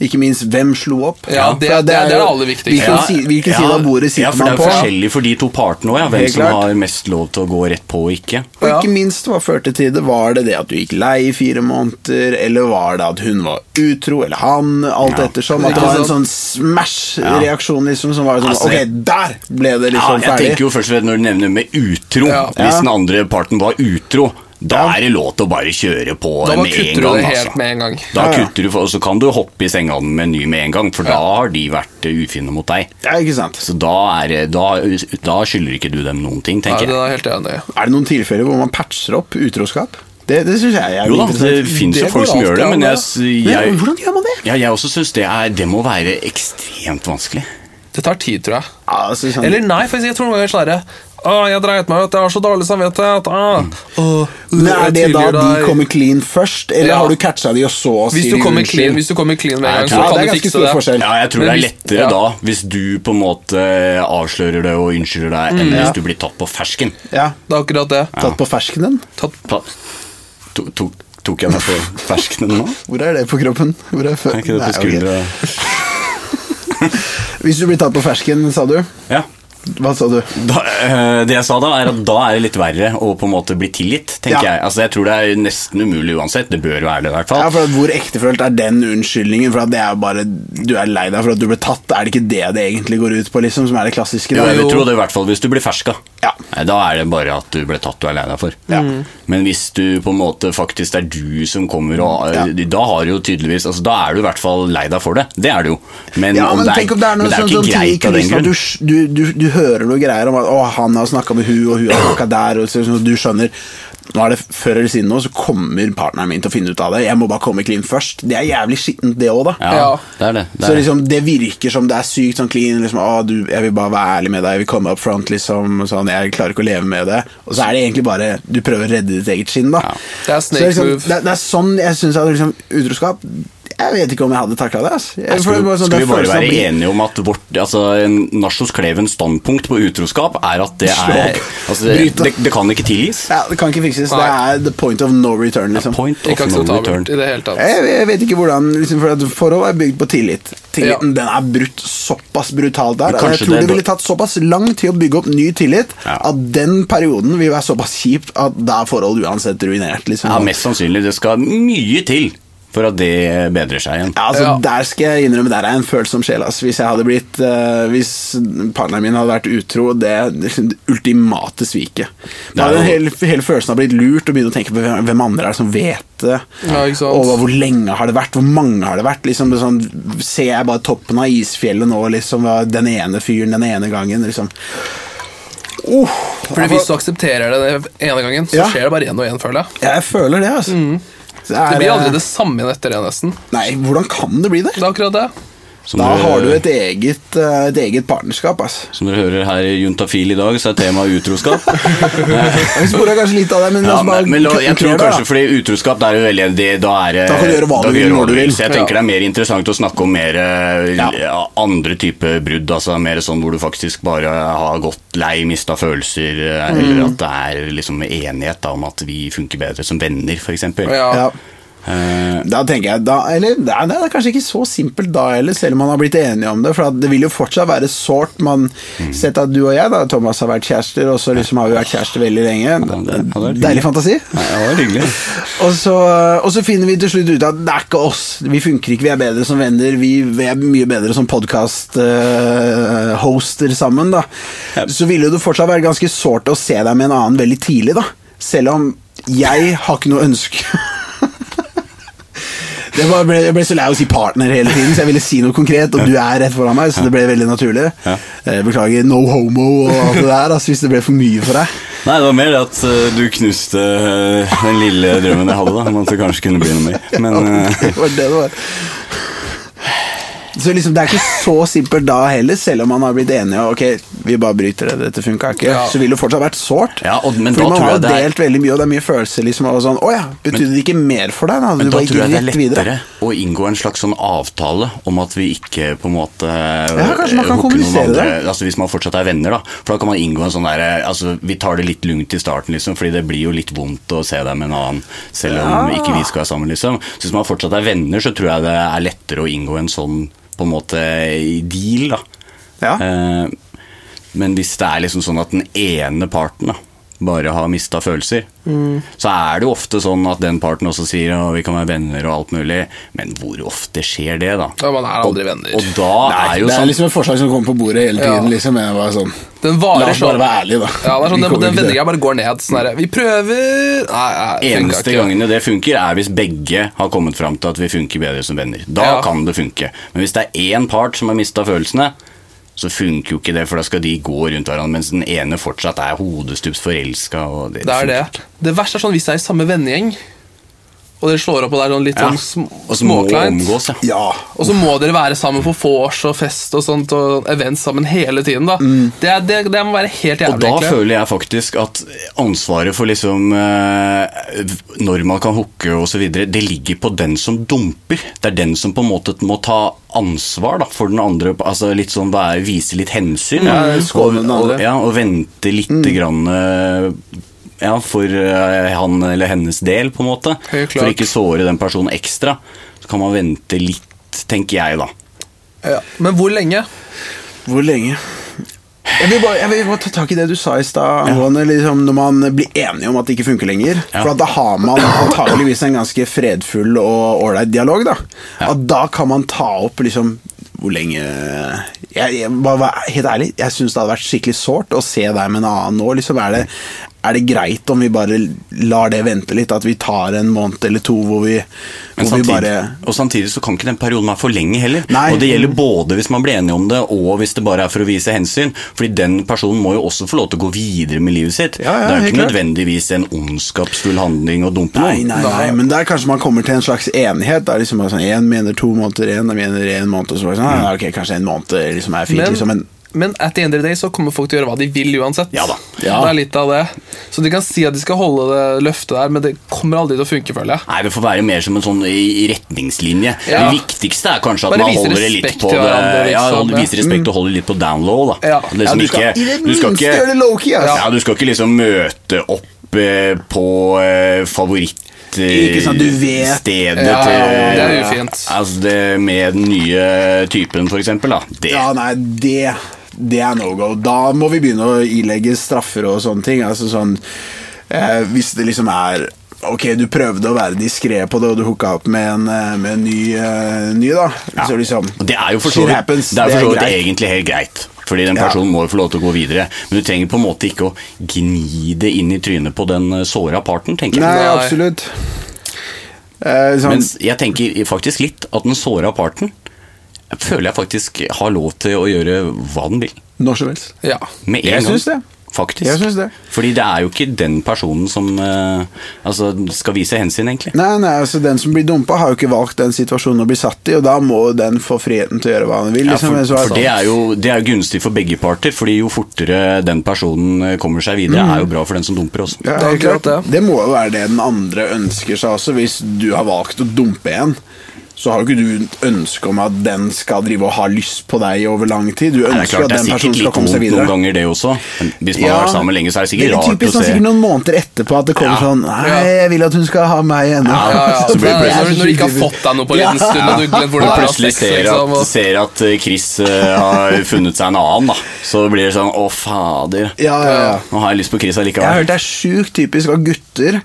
S1: Ikke minst hvem slo opp.
S3: Ja, det-
S1: For
S3: det er det
S1: jo-
S3: aller viktigste.
S1: Hvilken, si, hvilken side av bordet sitter
S2: ja, for
S1: man
S2: Det
S1: på?
S2: er forskjellig for de to partene òg, ja, hvem
S1: Helt
S2: som
S1: klart.
S2: har mest lov til å gå rett på og ikke.
S1: Og
S3: Ja.
S1: ikke minst, hva førte til det? Var det det at du gikk lei i fire måneder, eller var det at hun var utro, eller han, alt
S2: Ja.
S1: ettersom? At det
S3: Ikke
S1: var en
S3: sant?
S1: sånn smash-reaksjon liksom, som var sånn
S2: Altså, jeg-
S1: Ok, der ble det
S2: Ja,
S1: liksom
S2: jeg tenker
S1: ferdig.
S2: jo først og fremst når du nevner med utro
S3: sånn Ja.
S2: Hvis
S1: Ja.
S2: den andre parten var utro, da er det lov til å bare kjøre på
S3: Da må
S2: med en
S3: kutter du
S2: gang.
S3: det helt
S2: altså.
S3: med en gang.
S2: Da
S1: Ja, ja.
S2: kutter du, for- og så kan du hoppe i senga med en ny med en gang, for da har de vært eh, ufine mot deg.
S1: Ja, ikke sant.
S2: Så da, er, det- da, da skylder ikke du dem noen ting,
S3: Nei,
S2: tenker
S3: det
S2: jeg.
S3: er jeg helt enig. i.
S1: Er det noen tilfeller hvor man patcher opp utroskap? Det, det syns jeg er
S2: Jo da, det
S1: interessant.
S2: fins jo
S3: Det
S2: folk
S3: går
S2: som gjør
S3: alltid
S2: det, men jeg,
S3: an,
S1: Men
S2: s- jeg,
S1: Hvordan gjør man det?
S2: ja, jeg også syns det, er- det må være ekstremt vanskelig.
S3: Det tar tid, tror jeg.
S1: Ja, altså, sånn,
S3: Eller nei, faktisk, jeg tror noen ganger sånn herre Å, jeg dreit meg ut, jeg har så dårlig samvittighet. Å, å,
S1: men er det da
S3: tilgir
S1: de
S3: deg».
S1: kommer clean først, eller
S3: Ja.
S1: har du catcha de og så sier
S3: hvis du
S1: de
S3: kommer
S1: unnskyld?
S3: clean, hvis du kommer clean med
S2: Nei,
S3: en
S2: jeg
S3: gang,
S2: tror-
S3: så
S2: Ja,
S1: det er
S3: kan du
S1: ganske
S3: fikse
S1: stor
S3: det.
S1: forskjell.
S2: Ja, jeg tror
S3: Men
S2: det er
S3: hvis-
S2: lettere
S3: ja.
S2: da, hvis du på en måte eh, avslører det og unnskylder deg,
S3: Mm,
S2: enn hvis du blir tatt på fersken.
S1: Ja,
S3: Det er akkurat det.
S1: Tatt på ferskenen?
S3: Tatt
S2: Ta, to, tok- tok jeg meg på ferskenen nå?
S1: Hvor er det på kroppen? Hvor er, fø-
S2: Er ikke det
S1: Nei,
S2: på
S1: ok.
S2: skuldra?
S1: Hvis du blir tatt på fersken, sa du?
S2: Ja.
S1: Hva sa du?
S2: Da, eh, det jeg sa da, er at da er det litt verre å på en måte bli tilgitt,
S1: Ja.
S2: tenker jeg. Altså, jeg tror det er nesten umulig uansett. Det bør være det, i hvert
S1: Ja,
S2: fall.
S1: for at Hvor ektefølt er den unnskyldningen? For at det er bare Du er lei deg for at du ble tatt. Er det ikke det det egentlig går ut på, liksom? Som er det klassiske?
S2: Jo,
S1: da?
S2: jeg vil tro det i hvert fall hvis du blir ferska.
S1: Ja.
S2: Nei, Da er det bare at du ble tatt du er lei deg for. Men hvis du på en måte faktisk det er du som kommer og eh, Da har du jo tydeligvis altså, Da er du i hvert fall lei deg for det. Det er du jo. Men,
S1: Ja,
S2: om
S1: men
S2: det er,
S1: tenk om det er noe
S2: men det er
S1: sånn
S2: jo
S1: sånn
S2: ikke
S1: ting i
S2: greit av den
S1: kulissen at
S2: grunn.
S1: du, sk- du, du, du hører noe greier om at 'Å, han har snakka med hun, og hun har snakka der', og så, så du skjønner Nå er det Før eller siden nå så kommer partneren min til å finne ut av det. Jeg må bare komme clean først. Det er jævlig skittent, det òg, da.
S2: Ja,
S3: Ja.
S2: det er det. det,
S1: Så
S2: er det.
S1: liksom, det virker som det er sykt sånn clean. Liksom, «Å, du, 'Jeg vil bare være ærlig med deg, jeg vil komme up front', liksom. og Sånn, 'Jeg klarer ikke å leve med det'. Og så er det egentlig bare du prøver å redde ditt eget skinn, da.
S2: Ja.
S3: Det er
S1: Så
S3: snake
S1: liksom,
S3: move.
S1: Det, det er sånn jeg syns at liksom, utroskap Jeg vet ikke om jeg hadde takla det. Altså. Jeg,
S2: Nei,
S1: for det
S2: Skal,
S1: var sånn,
S2: skal
S1: det
S2: vi bare
S1: følelsen av å
S2: være
S1: bli-
S2: enige om at vårt, altså, en Nachos Klevens standpunkt på utroskap er at det
S1: Slå
S2: er
S1: opp.
S2: altså, det,
S1: Bryt det.
S2: det, det kan ikke tilgis?
S1: Ja, det kan ikke fikses. Det
S3: Nei.
S1: er the point of no return, liksom.
S2: Point
S3: Ikke
S2: of no return.
S3: akseptabelt i det hele tatt.
S1: Jeg, jeg vet ikke hvordan liksom, For at forhold er bygd på tillit. Tilliten
S3: Ja.
S1: den er brutt såpass brutalt der.
S2: Men
S1: og Jeg
S2: kanskje
S1: tror det,
S2: det-
S1: ville tatt såpass lang tid å bygge opp ny tillit
S2: Ja.
S1: at den perioden vil være såpass kjip at da er forhold uansett ruinert. Liksom.
S2: Ja, mest sannsynlig. Det skal mye til for at det bedrer seg igjen.
S1: Ja, altså
S3: Ja.
S1: Der skal jeg innrømme, der er jeg en følsom sjel. ass. Hvis jeg hadde blitt eh, Hvis partneren min hadde vært utro, det er liksom det ultimate sviket. Da
S2: Det er
S1: hadde
S2: jo-
S1: hele, hele følelsen av blitt lurt, og begynne å tenke på hvem hvem andre er det som vet det.
S3: Ja, ikke sant.
S1: Og hva- hvor lenge har det vært? Hvor mange har det vært? Liksom, det er sånn, ser jeg bare toppen av isfjellet nå, liksom? hva- Den ene fyren den ene gangen, liksom. Uh,
S3: Fordi Hvis du aksepterer det den ene gangen, så
S1: Ja.
S3: skjer det bare igjen og igjen, føler jeg.
S1: jeg føler det, altså. Det, er,
S3: Mm. Det blir
S2: eh,
S3: aldri det samme igjen etter det, nesten.
S1: Nei, hvordan kan det bli det?
S3: Det er akkurat det.
S2: Som
S1: Da
S2: dere-
S1: har du et eget, eh, et eget partnerskap, altså.
S2: Som dere hører her i Juntafil i dag, så er temaet utroskap.
S1: Jeg sporer kanskje litt av det, men,
S2: Ja,
S1: altså, bare
S2: men, men la, jeg
S1: kutter
S2: tror
S1: det, da.
S2: kanskje fordi utroskap det er jo veldig det, da, er, det-
S1: Da kan du gjøre hva
S2: da
S1: du
S2: kan
S1: vil, når du vil.
S2: Så jeg
S3: Ja.
S2: tenker det er mer interessant å snakke om mer eh,
S1: Ja.
S2: ja, andre typer brudd. Altså mer sånn hvor du faktisk bare har gått lei, mista følelser, eh,
S1: Mm.
S2: eller at det er liksom enighet da, om at vi funker bedre som venner, Eh, f.eks.
S3: Ja.
S1: Ja. Da tenker jeg da, Eller nei, nei, det er kanskje ikke så simpelt da heller, selv om man har blitt enige om det. For at det vil jo fortsatt være sårt. Man
S2: Mm.
S1: Sett at du og jeg, da, Thomas, har vært kjærester, og så liksom har vi vært kjærester veldig
S2: det hadde
S1: lenge.
S2: vært hyggelig.
S1: Deilig fantasi.
S2: Nei, det var hyggelig.
S1: Og så, og så finner vi til slutt ut at det er ikke oss. Vi funker ikke, vi er bedre som venner. Vi, vi er mye bedre som podkast-hoster sammen, da. Så ville det fortsatt vært ganske sårt å se deg med en annen veldig tidlig, da. Selv om jeg har ikke noe ønske Det bare ble, jeg ble så lei av å si partner hele tiden, så jeg ville si noe konkret, og du er rett foran meg, så det ble veldig naturlig.
S2: Ja.
S1: Eh, Beklager no homo og alt det der, altså, hvis det ble for mye for deg.
S2: Nei, det var mer det at eh, du knuste eh, den lille drømmen jeg hadde da, om at det kanskje kunne bli noe mer. Men eh,
S1: Det var det det var. Så liksom, Det er ikke så simpelt da heller, selv om man har blitt enige. og, Ok, vi bare bryter det, dette funka ikke.
S3: Ja.
S1: Så ville det fortsatt vært sårt.
S2: Ja, og- men
S1: Fordi
S2: da
S1: man
S2: tror
S1: har
S2: jeg
S1: jo
S2: det er-
S1: delt veldig mye, og det er mye følelser. liksom, og sånn, Å ja, betydde det ikke mer for deg? Da,
S2: Men
S1: du
S2: da
S1: bare gikk
S2: tror jeg det er
S1: rett
S2: lettere
S1: videre.
S2: å inngå en slags sånn avtale om at vi ikke på en måte eh, Ja,
S1: kanskje man kan kommunisere
S2: Altså Hvis man fortsatt er venner, da. For da kan man inngå en sånn derre altså, Vi tar det litt lugnt i starten, liksom, fordi det blir jo litt vondt å se deg med en annen, selv om
S1: Ja.
S2: ikke vi skal være sammen, liksom. Så hvis man fortsatt er venner, så tror jeg det er lettere å inngå en sånn på en måte eh, deal, da.
S1: Ja.
S2: Eh, Men hvis det er liksom sånn at den ene parten da, bare har mista følelser,
S3: Mm.
S2: så er det jo ofte sånn at den parten også sier at vi kan være venner og alt mulig, men hvor ofte skjer det, da?
S3: Ja, man er aldri venner.
S2: Og da
S1: Nei,
S2: er jo sånn
S1: liksom et forslag som kommer på bordet hele
S3: Ja.
S1: liksom, jeg var sånn,
S3: Den varer sånn.
S1: ærlige, da.
S3: Ja, det er
S1: Vi
S3: sånn, den,
S1: kommer ikke til
S3: den
S1: det.
S3: vendinga bare går ned. Sånn der, vi prøver Nei, nei funker
S2: Eneste
S3: ikke.
S2: gangene det funker, er hvis begge har kommet fram til at vi funker bedre som venner. Da
S3: Ja.
S2: kan det funke. Men hvis det er én part som har mista følelsene, så funker jo ikke det, for da skal de gå rundt hverandre mens den ene fortsatt er hodestups forelska. og
S3: Det er
S2: funker
S3: det.
S2: ikke.
S3: Det verste er sånn hvis det er i samme vennegjeng, og dere slår opp og det er sånn litt
S2: Ja.
S3: sånn sm-
S2: Og så må
S3: småkleint.
S2: omgås, ja.
S1: Ja.
S3: Og så må dere være sammen på vors og fest og sånt og events sammen hele tiden. da det, er- det, det må være helt jævlig.
S2: Mm. Og da
S3: egentlig.
S2: føler jeg faktisk at ansvaret for liksom eh, når man kan hooke osv., det ligger på den som dumper. Det er den som på en måte må ta ansvar da, for den andre. altså litt sånn være, Vise litt hensyn. ja.
S1: skåne den
S2: og,
S1: andre.
S2: og, ja, og vente lite
S3: Mm.
S2: grann eh, ja, for eh, han eller hennes del, på en måte.
S3: Helt klart.
S2: For ikke såre den personen ekstra. Så kan man vente litt, tenker jeg, da.
S3: Ja. Men hvor lenge?
S1: Hvor lenge? Jeg vil, bare, jeg vil bare ta tak i det du sa i stad angående liksom, når man blir enige om at det ikke funker lenger.
S2: Ja.
S1: For at da har man antageligvis en ganske fredfull og ålreit dialog. Da. At da kan man ta opp liksom hvor lenge jeg, jeg, bare, vær Helt ærlig, jeg syns det hadde vært skikkelig sårt å se deg med en annen nå. Liksom, er, det, er det greit om vi bare lar det vente litt? At vi tar en måned eller to hvor vi, hvor
S2: Men
S1: vi
S2: samtidig,
S1: bare
S2: og samtidig så kan ikke den perioden være for lenge heller.
S1: Nei.
S2: Og det gjelder både hvis man blir enige om det, og hvis det bare er for å vise hensyn. Fordi den personen må jo også få lov til å gå videre med livet sitt.
S1: Ja, ja,
S2: det er jo
S1: helt
S2: ikke
S1: klart.
S2: nødvendigvis en ondskapsfull handling å dumpe
S1: Nei,
S2: noen.
S1: nei, nei, men der kanskje man kommer til en slags enighet. Det er liksom bare sånn, Én mener to måneder, én mener én måned. Og så bare sånn, nei, ok, Kanskje en måned liksom er fint,
S3: Men,
S1: liksom, men
S3: men at the end of the day så kommer folk til å gjøre hva de vil uansett.
S2: Ja da.
S1: Ja.
S3: Det er litt av det. Så de kan si at de skal holde det løftet der, men det kommer aldri til å funke, føler jeg.
S2: Nei, Det får være mer som en sånn i- i retningslinje.
S3: Ja.
S2: Det viktigste er kanskje at
S3: Bare
S2: man
S3: vise
S2: holder det litt
S3: respekt
S2: på
S3: til
S2: det,
S3: hverandre,
S2: ja,
S3: liksom.
S2: holder- viser respekt og holder litt på down low. Da.
S3: Ja.
S2: At liksom
S1: Mm. ja, du skal
S2: ikke-
S1: i det
S2: du skal
S1: minste
S2: ikke-
S1: gjøre det low-key. ass.
S2: Ja, du skal ikke liksom møte opp eh, på eh, favoritt... eh,
S1: Ikke sant, du vet.
S2: Stedet
S3: Ja,
S2: til
S3: det er ufint.
S2: Altså det med den nye typen, for eksempel. Da. Det.
S1: Ja, nei, det, det er no go. Da må vi begynne å ilegge straffer og sånne ting. Altså sånn eh, Hvis det liksom er Ok, du prøvde å være diskré på det, og du hooka opp med en, eh, med en ny, eh, ny da. Så liksom
S2: Og Det er jo for så
S1: shit
S2: vidt
S1: happens,
S2: det er for så vidt
S1: greit.
S2: egentlig helt greit. Fordi den
S1: Ja.
S2: personen må jo få lov til å gå videre. Men du trenger på en måte ikke å gni det inn i trynet på den eh, såra parten, tenker
S1: Nei,
S2: jeg.
S3: Nei.
S1: absolutt. Eh, liksom,
S2: Mens jeg tenker faktisk litt at den såra parten jeg føler jeg faktisk har lov til å gjøre hva den vil.
S1: når som helst.
S3: Ja.
S2: Med en
S1: Jeg
S2: gang.
S1: syns det.
S2: Faktisk.
S1: Jeg syns det.
S2: Fordi det er jo ikke den personen som eh, altså, skal vise hensyn, egentlig.
S1: Nei, nei, altså Den som blir dumpa, har jo ikke valgt den situasjonen å bli satt i, og da må den få friheten til å gjøre hva han vil.
S2: Ja,
S1: Liksom.
S2: for,
S1: Så er
S2: for det er jo det er jo gunstig for begge parter, Fordi jo fortere den personen eh, kommer seg
S1: Mm.
S2: videre, er jo bra for den som dumper også.
S1: Ja,
S3: Det er
S1: helt
S3: akkurat
S1: klart.
S3: det.
S1: Det må jo være det den andre ønsker seg også. Hvis du har valgt å dumpe en, så har jo ikke du ønske om at den skal drive og ha lyst på deg over lang tid. Du
S2: Nei, det er
S1: ønsker
S2: klart,
S1: at
S2: det er
S1: den
S2: sikkert
S1: personen skal
S2: litt
S1: komme seg
S2: vondt noen
S1: videre.
S2: ganger, det også. Men hvis man har vært sammen lenge, så er det
S1: Det
S2: sikkert
S1: er
S2: rart
S1: typisk,
S2: å
S1: sånn,
S2: se
S1: Sikkert noen måneder etterpå at det kommer
S2: Ja.
S1: sånn Nei, jeg vil at hun skal ha meg ennå.
S3: Ja, ja, ja.
S1: Så blir det
S3: Nei,
S1: plutselig
S3: når, når du ikke har
S1: sjukt
S3: fått deg noe på en liten
S1: Ja.
S3: stund, og du glemmer hvor
S2: Og
S3: du har
S2: plutselig
S3: sex,
S2: ser
S3: liksom,
S2: at,
S3: og,
S2: ser at eh, Chris eh, har funnet seg en annen, da. Så blir det sånn Å, fader.
S1: Ja, ja, ja.
S2: Nå har jeg lyst på Chris
S1: Jeg har
S2: allikevel.
S1: hørt det er sjukt typisk av gutter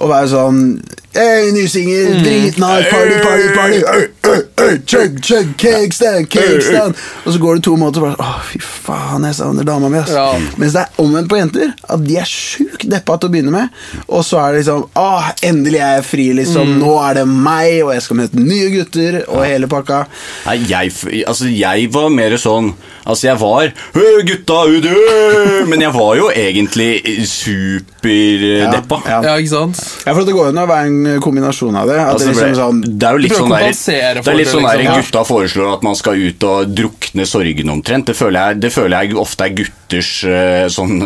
S1: å være sånn Hey, nysinger,
S2: Mm.
S1: dritnight, party, party, party øy, øy, øy, Chug, chug, cake stand, cake stand Og så går det to måneder og bare Å, fy faen, jeg savner dama mi, ass.
S3: Ja.
S1: Mens det er omvendt på jenter. At de er sjukt deppa til å begynne med. Og så er det liksom Å, endelig er jeg fri,
S2: Mm.
S1: liksom. Nå er det meg, og jeg skal møte nye gutter, og hele pakka.
S2: Nei, jeg, f- altså, jeg var mer sånn Altså, jeg var «Hø, gutta, ut, hø!» Men jeg var jo egentlig superdeppa.
S1: Ja.
S3: ja, ikke sant?
S1: Ja, for at det går an å være en kombinasjon av det. At det
S2: Altså, det,
S1: liksom sånn
S2: ble- det er jo litt
S3: Prøv å
S2: sånn der,
S3: kompensere
S2: det
S3: for
S2: er litt
S3: det,
S2: sånn der
S3: liksom. Ja.
S2: gutta foreslår at man skal ut og drukne sorgen omtrent. Det føler jeg, det føler jeg ofte er gutters eh, sånn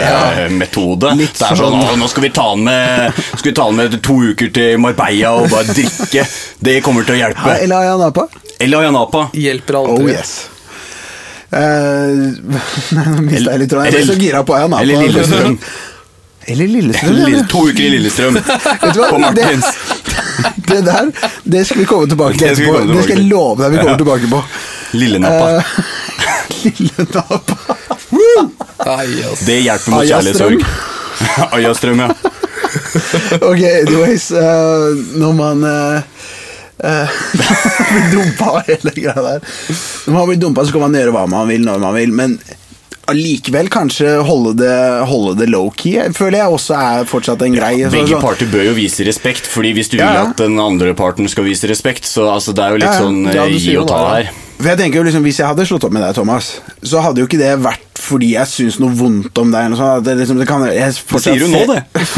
S2: støttemetode.
S1: Litt
S2: det er sånn
S1: sånn.
S2: «Å, Nå skal vi ta den med, skal vi ta den med to uker til Marbella og bare drikke. Det kommer til å
S1: ja,
S2: hjelpe.
S1: Eller har jeg en apa?
S2: Eller Ayanapa.
S3: Hjelper aldri.
S1: Oh yes. Eh, Nei, nå mista jeg litt tråden. Jeg ble så gira på Ayanapa.
S2: Eller Lillestrøm.
S1: Eller Lillestrøm, ja,
S2: Lille,
S1: det-
S2: to uker i Lillestrøm.
S1: Vet du hva?
S2: På Martins.
S1: Det, det der det skal vi komme tilbake til
S2: Det skal vi
S1: etterpå.
S2: komme
S1: Det skal jeg
S2: tilbake til.
S1: love deg vi kommer
S2: Ja.
S1: tilbake på.
S2: Lillenappa.
S1: Eh, Lille Napa.
S3: Nei, altså. ass.
S2: Det hjelper mot
S1: Ayastrøm.
S2: kjærlighetssorg. Ayastrøm, ja.
S1: Ok, anyways. eh, når man eh, eh, blir dumpa og hele greia der Når man blir dumpa, så kan man gjøre hva man vil når man vil, men allikevel kanskje holde det, holde det low-key, føler jeg også er fortsatt en greie. Så-
S2: Begge
S1: så-
S2: parter bør jo vise respekt, Fordi hvis du
S1: Ja,
S2: vil
S1: ja.
S2: at den andre parten skal vise respekt, så altså, det er jo litt
S1: Ja, ja.
S2: sånn
S1: Ja,
S2: eh,
S1: du
S2: gi
S1: sier jo
S2: og ta
S1: det, ja.
S2: her.
S1: For jeg tenker jo liksom, Hvis jeg hadde slått opp med deg, Thomas, så hadde jo ikke det vært fordi jeg syns noe vondt om deg. Eller noe sånt. at Det, liksom, det, kan, jeg fortsatt
S2: sier du nå,
S1: ser-
S2: det.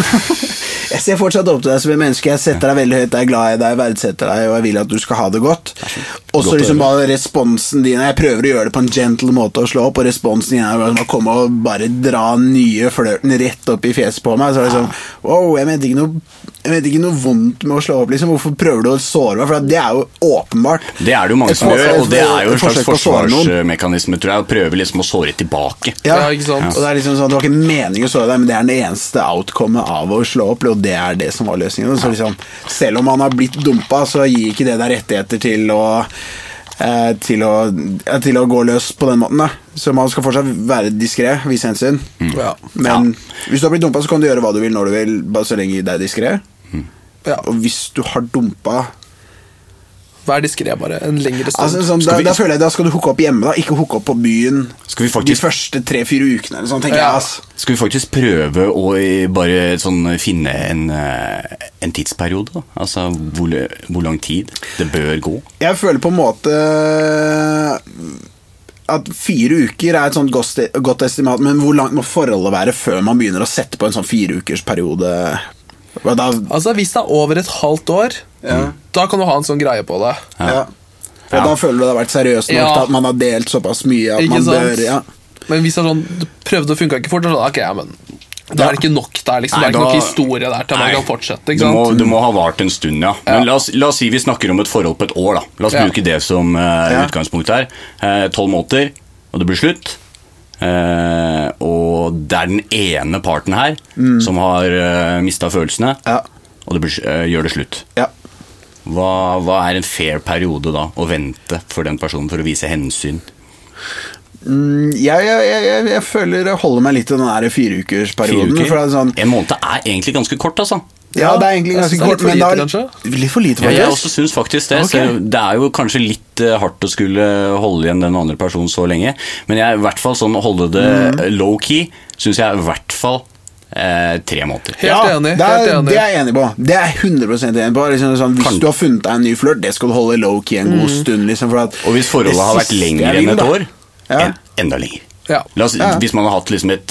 S1: jeg ser fortsatt opp til deg som et menneske. Jeg setter deg veldig høyt, jeg er glad i deg, jeg verdsetter deg, og jeg vil at du skal ha det godt. Og så
S2: Godt å
S1: liksom
S2: høre.
S1: bare responsen din Jeg prøver å gjøre det på en gentle måte å slå opp, og responsen din er bare å komme og bare dra den nye flørten rett opp i fjeset på meg. Så er det sånn Wow, jeg mente ikke noe jeg mente ikke noe vondt med å slå opp, liksom. Hvorfor prøver du å såre meg? For det er jo åpenbart.
S2: Det er det jo mange
S1: Et
S2: som
S1: forsøk-
S2: gjør, og det er jo en
S1: et
S2: slags
S1: forsøk på å såre noen.
S2: forsvarsmekanisme, tror jeg. Å prøve liksom å såre tilbake.
S3: Ja, ikke sant?
S1: Og det er liksom sånn, det var ikke meningen å såre deg, men det er det eneste outcomet av å slå opp, og det er det som var løsningen. Så liksom, selv om han har blitt dumpa, så gir ikke det deg rettigheter til å eh, til å, eh, til å gå løs på den måten. Da. Så man skal fortsatt være diskré, vise hensyn.
S2: Mm.
S3: Ja.
S1: Men hvis du har blitt dumpa, så kan du gjøre hva du vil når du vil, bare så lenge det er diskré.
S3: Ja.
S1: Og hvis du har dumpa
S3: Vær diskré, bare. En lengre stund.
S1: altså, sånn, da,
S2: Skal vi-
S1: da føler jeg da skal du hooke opp hjemme, da. ikke hooke opp på byen
S2: Skal vi
S1: de
S2: faktisk
S1: første tre-fire ukene. Eller sånn, tenker
S3: Ja.
S1: jeg ass.
S2: Skal vi faktisk prøve å eh, bare sånn finne en, eh, en tidsperiode? da? Altså hvor, lø- hvor lang tid det bør gå?
S1: Jeg føler på en måte eh, at fire uker er et sånt godt, godt estimat, men hvor langt må forholdet være før man begynner å sette på en sånn fireukersperiode? Og Da,
S3: Altså, Hvis det er over et halvt år, da kan du ha en sånn greie på det.
S1: ja. Og da føler du det har vært seriøst nok
S3: Ja.
S1: til at man har delt såpass mye at
S3: Ikke
S1: man
S3: sant?
S1: bør ja.
S3: Men hvis det er sånn, du prøvde og funka ikke fort, da er det sånn, ok, ja, men da er det ikke nok der. liksom, Det
S2: Nei,
S3: er ikke
S2: da-
S3: nok historie der til at
S2: Nei.
S3: man kan fortsette.
S2: Det
S3: ikke
S2: må,
S3: sant?
S2: det må ha vart en stund, ja. Men
S3: Ja.
S2: La, oss, la oss si vi snakker om et forhold på et år. da. La oss
S3: Ja.
S2: bruke det som eh,
S1: Ja.
S2: utgangspunkt her. Eh, Tolv måneder, og det blir slutt. Eh, og det er den ene parten her som har uh, mista følelsene,
S1: Ja.
S2: og det blir, eh, gjør det slutt.
S1: Ja.
S2: Hva, hva er en fair periode da å vente for den personen for å vise hensyn?
S1: Mm, Jeg, jeg, jeg, jeg, jeg føler jeg holder meg litt til den der
S2: Fire
S1: fireukersperioden.
S2: uker?
S1: For det er sånn,
S2: En måned er egentlig ganske kort, altså.
S1: Ja, det er egentlig
S3: jeg
S1: ganske
S3: synes det er
S1: kort,
S3: litt for
S1: men det
S3: lite,
S1: er litt for lite,
S2: Ja, jeg
S1: faktisk.
S2: også syns faktisk det.
S1: Ok.
S2: Så det er jo kanskje litt eh, hardt å skulle holde igjen den andre personen så lenge, men jeg er i hvert fall sånn å holde det
S1: Mm.
S2: low-key syns jeg er i hvert fall eh, tre måneder.
S3: Helt enig.
S1: det er,
S3: helt enig.
S1: Det er jeg enig på. Det er jeg 100 enig på. Liksom, sånn, hvis
S2: Kan-
S1: du har funnet deg en ny flørt, det skal du holde low-key en
S3: Mm.
S1: god stund. Liksom, for at
S2: Og hvis forholdet
S1: det
S2: har vært
S1: siste
S2: lenger
S1: jeg
S2: enn
S1: vil,
S2: et
S1: da-
S2: år,
S1: Ja.
S2: en, enda lenger.
S3: Ja.
S2: La oss,
S1: Ja.
S2: Hvis man har hatt liksom et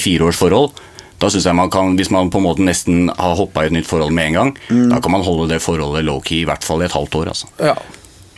S2: tre-fireårsforhold, da synes jeg man kan, Hvis man på en måte nesten har hoppa i et nytt forhold med en gang,
S1: Mm.
S2: da kan man holde det forholdet low-key i hvert fall i et halvt år. altså.
S3: Ja.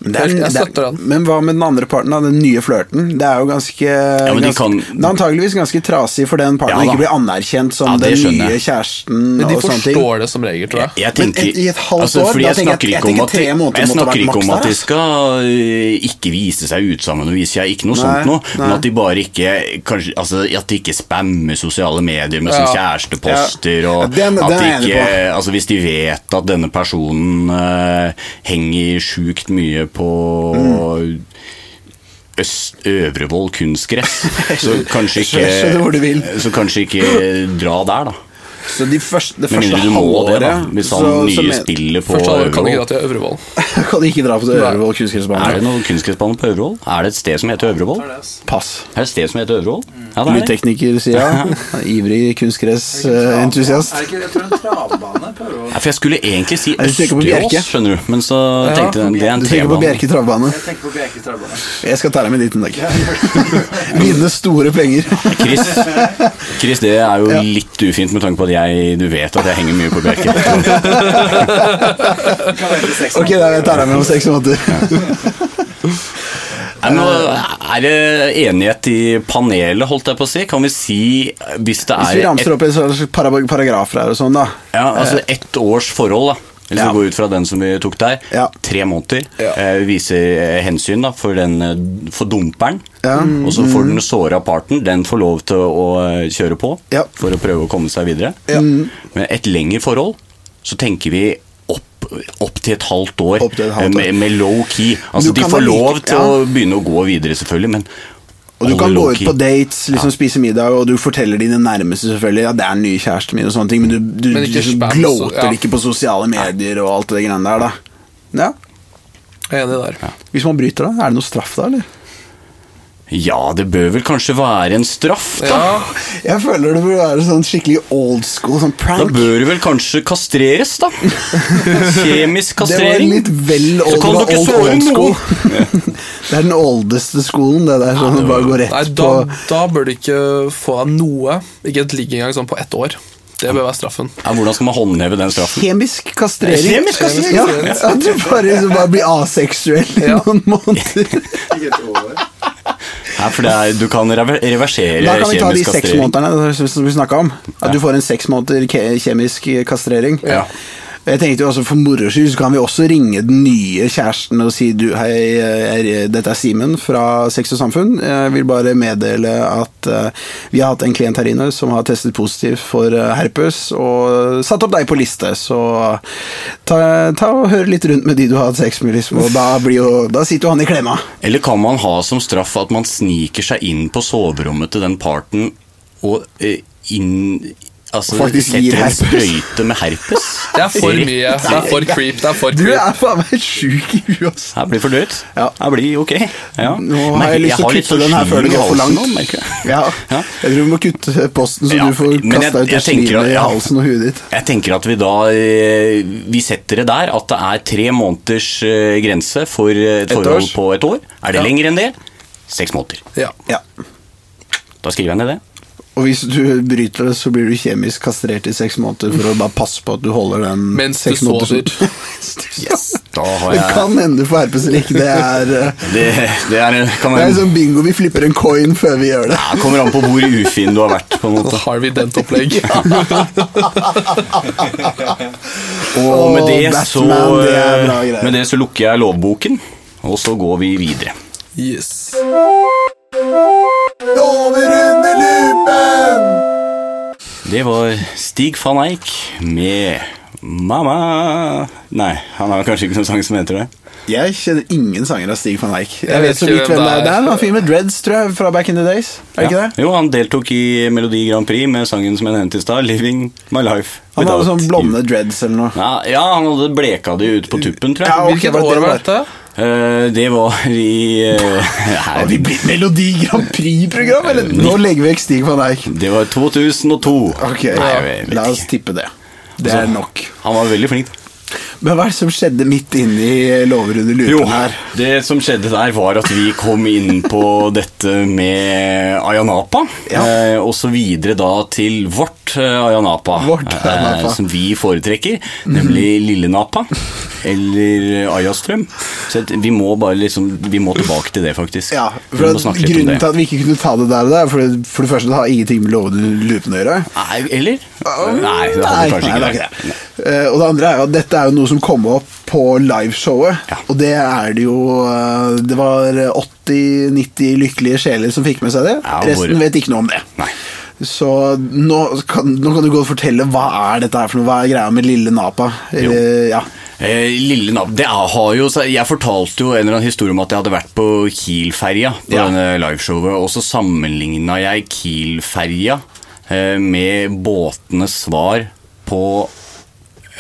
S1: Men det er-
S3: Jeg
S1: det er-
S3: støtter den.
S1: Men hva med den andre parten, da? Den nye flørten? Det er jo ganske
S2: men de
S1: ganske-
S2: kan-
S1: Det er antageligvis ganske trasig for den parten
S2: Ja,
S1: å
S2: da.
S1: ikke bli anerkjent som
S2: Ja, det
S1: den
S2: skjønner
S1: nye
S2: jeg.
S1: kjæresten.
S3: Men de
S1: og sånne ting.
S3: forstår det som regel, tror jeg.
S2: Jeg
S1: Men
S2: tenker,
S1: i- i et halvt
S2: altså,
S1: år,
S2: fordi
S1: da tenker
S2: jeg
S1: jeg-
S2: snakker
S1: jeg
S2: ikke om
S1: tenker
S2: at,
S1: tre måneder
S2: jeg
S1: måtte
S2: snakker
S1: vært
S2: ikke
S1: maks
S2: om
S1: der,
S2: at de
S1: ass.
S2: skal eh, ikke vise seg utsammen og vise seg ikke noe
S1: Nei,
S2: sånt noe, men
S1: nei.
S2: at de bare ikke kanskje, altså, At de ikke spammer sosiale medier med sånne
S3: Ja.
S2: kjæresteposter
S1: Ja.
S2: og
S1: Den- den
S2: at de
S1: er jeg enig
S2: ikke, altså, Hvis de vet at denne personen eh, henger sjukt mye på Øst, Øvrevoll kunstgress, så kanskje
S1: Jeg skjønner hvor du vil.
S2: ikke Så kanskje ikke dra der, da.
S1: Så de første, det
S2: Med
S1: første
S2: mindre du må det, da.
S1: halvåret
S2: Hvis han nye
S1: men-
S2: spiller på
S3: Først alle kan ikke
S2: Øvrevoll.
S3: dra til Øvrevoll.
S1: kan de ikke dra på det
S3: Nei.
S1: Ørevoll
S2: Er det
S1: kunstgressbane.
S2: noen kunstgressbane på Øvrevoll? Er det et sted som heter Øvrevoll? Er
S3: Det
S1: Pass.
S2: det et sted som heter Øvrevoll? Ja, det er det.
S1: Lydtekniker, sier jeg. Ivrig kunstgressentusiast.
S4: Er det ikke jeg tror det er en travbane på Øvrevoll?
S2: Ja, for jeg skulle egentlig si
S1: Nei, du tenker på
S2: Østerås,
S1: Bjerke.
S2: skjønner du, men så tenkte jeg det er en
S1: Du tenker på
S2: T-bane.
S1: Bjerke travbane.
S4: Jeg tenker på Bjerke travbane.
S1: Jeg skal ta deg med dit en dag. Vinne store penger.
S2: Chris, Chris, det er jo
S1: Ja.
S2: litt ufint med tanke på at jeg Du vet at jeg henger mye på Bjerke.
S4: Kan vente seks
S1: Ok, da jeg tar deg med om seks måneder.
S2: Nei, men Er det enighet i panelet, holdt jeg på å si? Kan vi si, hvis det
S1: Hvis vi
S2: er
S1: ramser
S2: et,
S1: opp en slags para- paragrafer her og sånn, da.
S2: ja, altså ett års forhold, da hvis
S1: Ja.
S2: vi går ut fra den som vi tok der,
S1: Ja.
S2: tre måneder,
S1: Ja.
S2: eh, viser eh, hensyn da, for, den, eh, for dumperen, Mm.
S1: Ja. Mm.
S2: Og så får den såra parten, den får lov til å eh, kjøre på
S1: Ja.
S2: for å prøve å komme seg videre.
S1: Ja. Mm.
S2: Men et lengre forhold, så tenker vi opp, opp til et halvt år,
S1: Opp til et halvt
S2: eh,
S1: år.
S2: Med, med low key. Altså,
S1: Du
S2: de
S1: kan
S2: får
S1: da like-
S2: lov til
S1: ja.
S2: å begynne å gå videre, selvfølgelig, men
S1: Og du kan gå
S2: holde low
S1: ut
S2: key.
S1: på dates, liksom spise middag, og du forteller dine nærmeste selvfølgelig at det er en ny kjæreste min, og sånne ting, men du, du,
S3: Men ikke
S1: du liksom
S3: spam,
S1: gloater
S3: så- ja.
S1: ikke på sosiale medier og alt det greiene der, da. Ja.
S3: Jeg er enig der.
S1: Hvis man bryter, da? Er det noe straff da, eller?
S2: Ja, det bør vel kanskje være en straff, da.
S3: Ja,
S1: Jeg føler det burde være sånn skikkelig old school, sånn
S2: Da
S1: prank.
S2: bør du vel kanskje kastreres, da. Kjemisk
S1: Det var
S2: kastrering.
S1: litt vel old,
S2: Så kan
S1: det var
S2: du ikke
S1: old,
S2: såre
S1: old
S2: noen.
S1: school. det er den oldeste skolen, det der, sånn det bare går rett
S3: Nei, da,
S1: på
S3: da bør du ikke få deg noe. Ikke et ligg engang, sånn på ett år. Det bør være straffen.
S2: Ja, hvordan skal man håndheve den straffen?
S1: Kjemisk kastrering.
S2: Kjemisk kastrering.
S1: Ja, at du bare, så bare blir aseksuell i
S3: Ja.
S1: noen måneder.
S4: ikke et år.
S2: Ja, for det er, du kan rever- reversere
S1: Da kan vi ta de
S2: Eh, kjemisk
S1: seks
S2: kastrering.
S1: månedene som- som vi snakka om. At du får en seks måneder ke- kjemisk eh, kastrering.
S2: Ja.
S1: Jeg tenkte jo også For moro skyld så kan vi også ringe den nye kjæresten og si du, hei, jeg er- eh, dette er Simen fra Sex og Samfunn. Jeg vil bare meddele at eh, vi har hatt en klient her inne som har testet positivt for eh, herpes, og satt opp deg på liste, så ta, ta og hør litt rundt med de du har hatt sex med, liksom, og da, blir jo, da sitter jo han i klemma.
S2: Eller kan man ha som straff at man sniker seg inn på soverommet til den parten og eh, inn Altså
S1: Faktisk gir
S2: setter en
S1: herpes.
S2: sprøyte med herpes?
S3: Det er for mye. Det er for creep. Det er for
S1: Du
S3: creep.
S1: er faen meg sjuk i huet, ass.
S2: Jeg blir for dødt.
S1: Ja.
S2: Jeg blir ok. Ja.
S1: Nå har jeg lyst til å
S2: litt
S1: kutte
S2: sånn
S1: den her før det
S2: slim i
S1: går for langt.
S2: halsen nå, merker jeg.
S1: Ja.
S2: Ja.
S1: Jeg tror vi må kutte posten, så
S2: Ja,
S1: du får
S2: men jeg-
S1: kasta ut det
S2: jeg tenker
S1: slimet
S2: at-
S1: i
S2: ja.
S1: halsen og huet ditt.
S2: Jeg tenker at vi da eh, Vi setter det der at det er tre måneders eh, grense for eh, et
S1: Et
S2: forhold
S1: års.
S2: på et år. Er det
S3: Ja.
S2: lenger enn det? Seks måneder.
S3: Ja.
S1: Ja.
S2: Da skriver jeg ned det.
S1: Og hvis du bryter det, så blir du kjemisk kastrert i seks måneder for å bare passe på at du holder den
S3: Mens du
S1: seks måneder som-
S3: sover.
S1: Mens du sover.
S2: Yes. Da har
S1: Det
S2: jeg
S1: kan hende du får herpes eller ikke. Det er, eh,
S2: Det, det er, kan
S1: det er
S2: være
S1: sånn bingo, vi flipper en coin før vi gjør det.
S2: Ja, det kommer an på hvor ufin du har vært, på en måte.
S3: Sånn Harvey Dent-opplegg.
S2: Og med
S1: Åh,
S2: det,
S1: Batman,
S2: så,
S1: det er bra greier.
S2: med det så lukker jeg lovboken, og så går vi videre.
S3: Yes.
S1: Over under lupen!
S2: Det var Stig van Eijk med Mamma Nei, han har kanskje ikke noen sang som heter det.
S1: Jeg kjenner ingen sanger av Stig van Eijk. Jeg,
S3: Jeg
S1: vet
S3: vet
S1: så
S3: ikke
S1: vidt hvem det er. Det er en fyr med dreads, tror jeg, fra back in the days. Er det
S2: Ja.
S1: ikke det?
S2: Jo, han deltok i Melodi Grand Prix med sangen som jeg nevnte i stad, 'Living My Life'.
S1: Han hadde
S2: Without
S1: sånn
S2: You.
S1: blonde dreads eller noe.
S2: Ja, ja, han hadde bleka de ut på tuppen, tror jeg.
S1: Ja, ok,
S3: Hvilket
S1: var det
S3: år
S1: det
S3: var
S1: var?
S3: dette?
S2: Eh, det var i eh, her-
S1: Har vi blitt Melodi Grand Prix-program, eller? Eh, Nå legger vi vekk Stig van Eijk.
S2: Det var 2002.
S1: Ok,
S2: Nei, jeg vet
S1: la oss
S2: ikke. Altså-
S1: tippe det. Det er nok.
S2: Han var veldig flink. da.
S1: Men hva er det som skjedde midt inni lover under
S2: Jo,
S1: lupen her?
S2: det som skjedde der var at vi kom inn på dette med Ayanapa,
S1: Ja.
S2: eh, og så videre da til vårt eh, Ayanapa,
S1: Vårt Ayanapa. Mhm.
S2: Eh, som vi foretrekker, nemlig Lille Napa, eller Ayastrøm. Så at vi må bare liksom, vi må tilbake til det faktisk.
S1: Ja,
S2: vi
S1: for
S2: må
S1: at
S2: snakke litt om
S1: Grunnen
S2: det.
S1: til at vi ikke kunne ta det der, og der for, det- for det første, det har ingenting med lover under lupen å gjøre.
S2: Nei, eller? Nei, det hadde
S1: Nei,
S2: kanskje
S1: nei,
S2: ikke
S1: det
S2: det.
S1: er ikke det. Eh, og det andre er jo at dette er jo noe som kom opp på liveshowet.
S2: Ja.
S1: Og det er det jo eh, Det var 80-90 lykkelige sjeler som fikk med seg det.
S2: Ja,
S1: Resten
S2: hvor-
S1: vet ikke noe om det.
S2: Nei.
S1: Så nå kan, nå kan du godt fortelle hva er dette her for noe? Hva er greia med lille Napa?
S2: Jo.
S1: Eh, ja.
S2: Eh, Lille Nav det er- har jo, så Jeg fortalte jo en eller annen historie om at jeg hadde vært på Kiel-ferja på
S1: Ja.
S2: denne liveshowet, og så sammenligna jeg Kiel-ferja eh, med båtenes svar på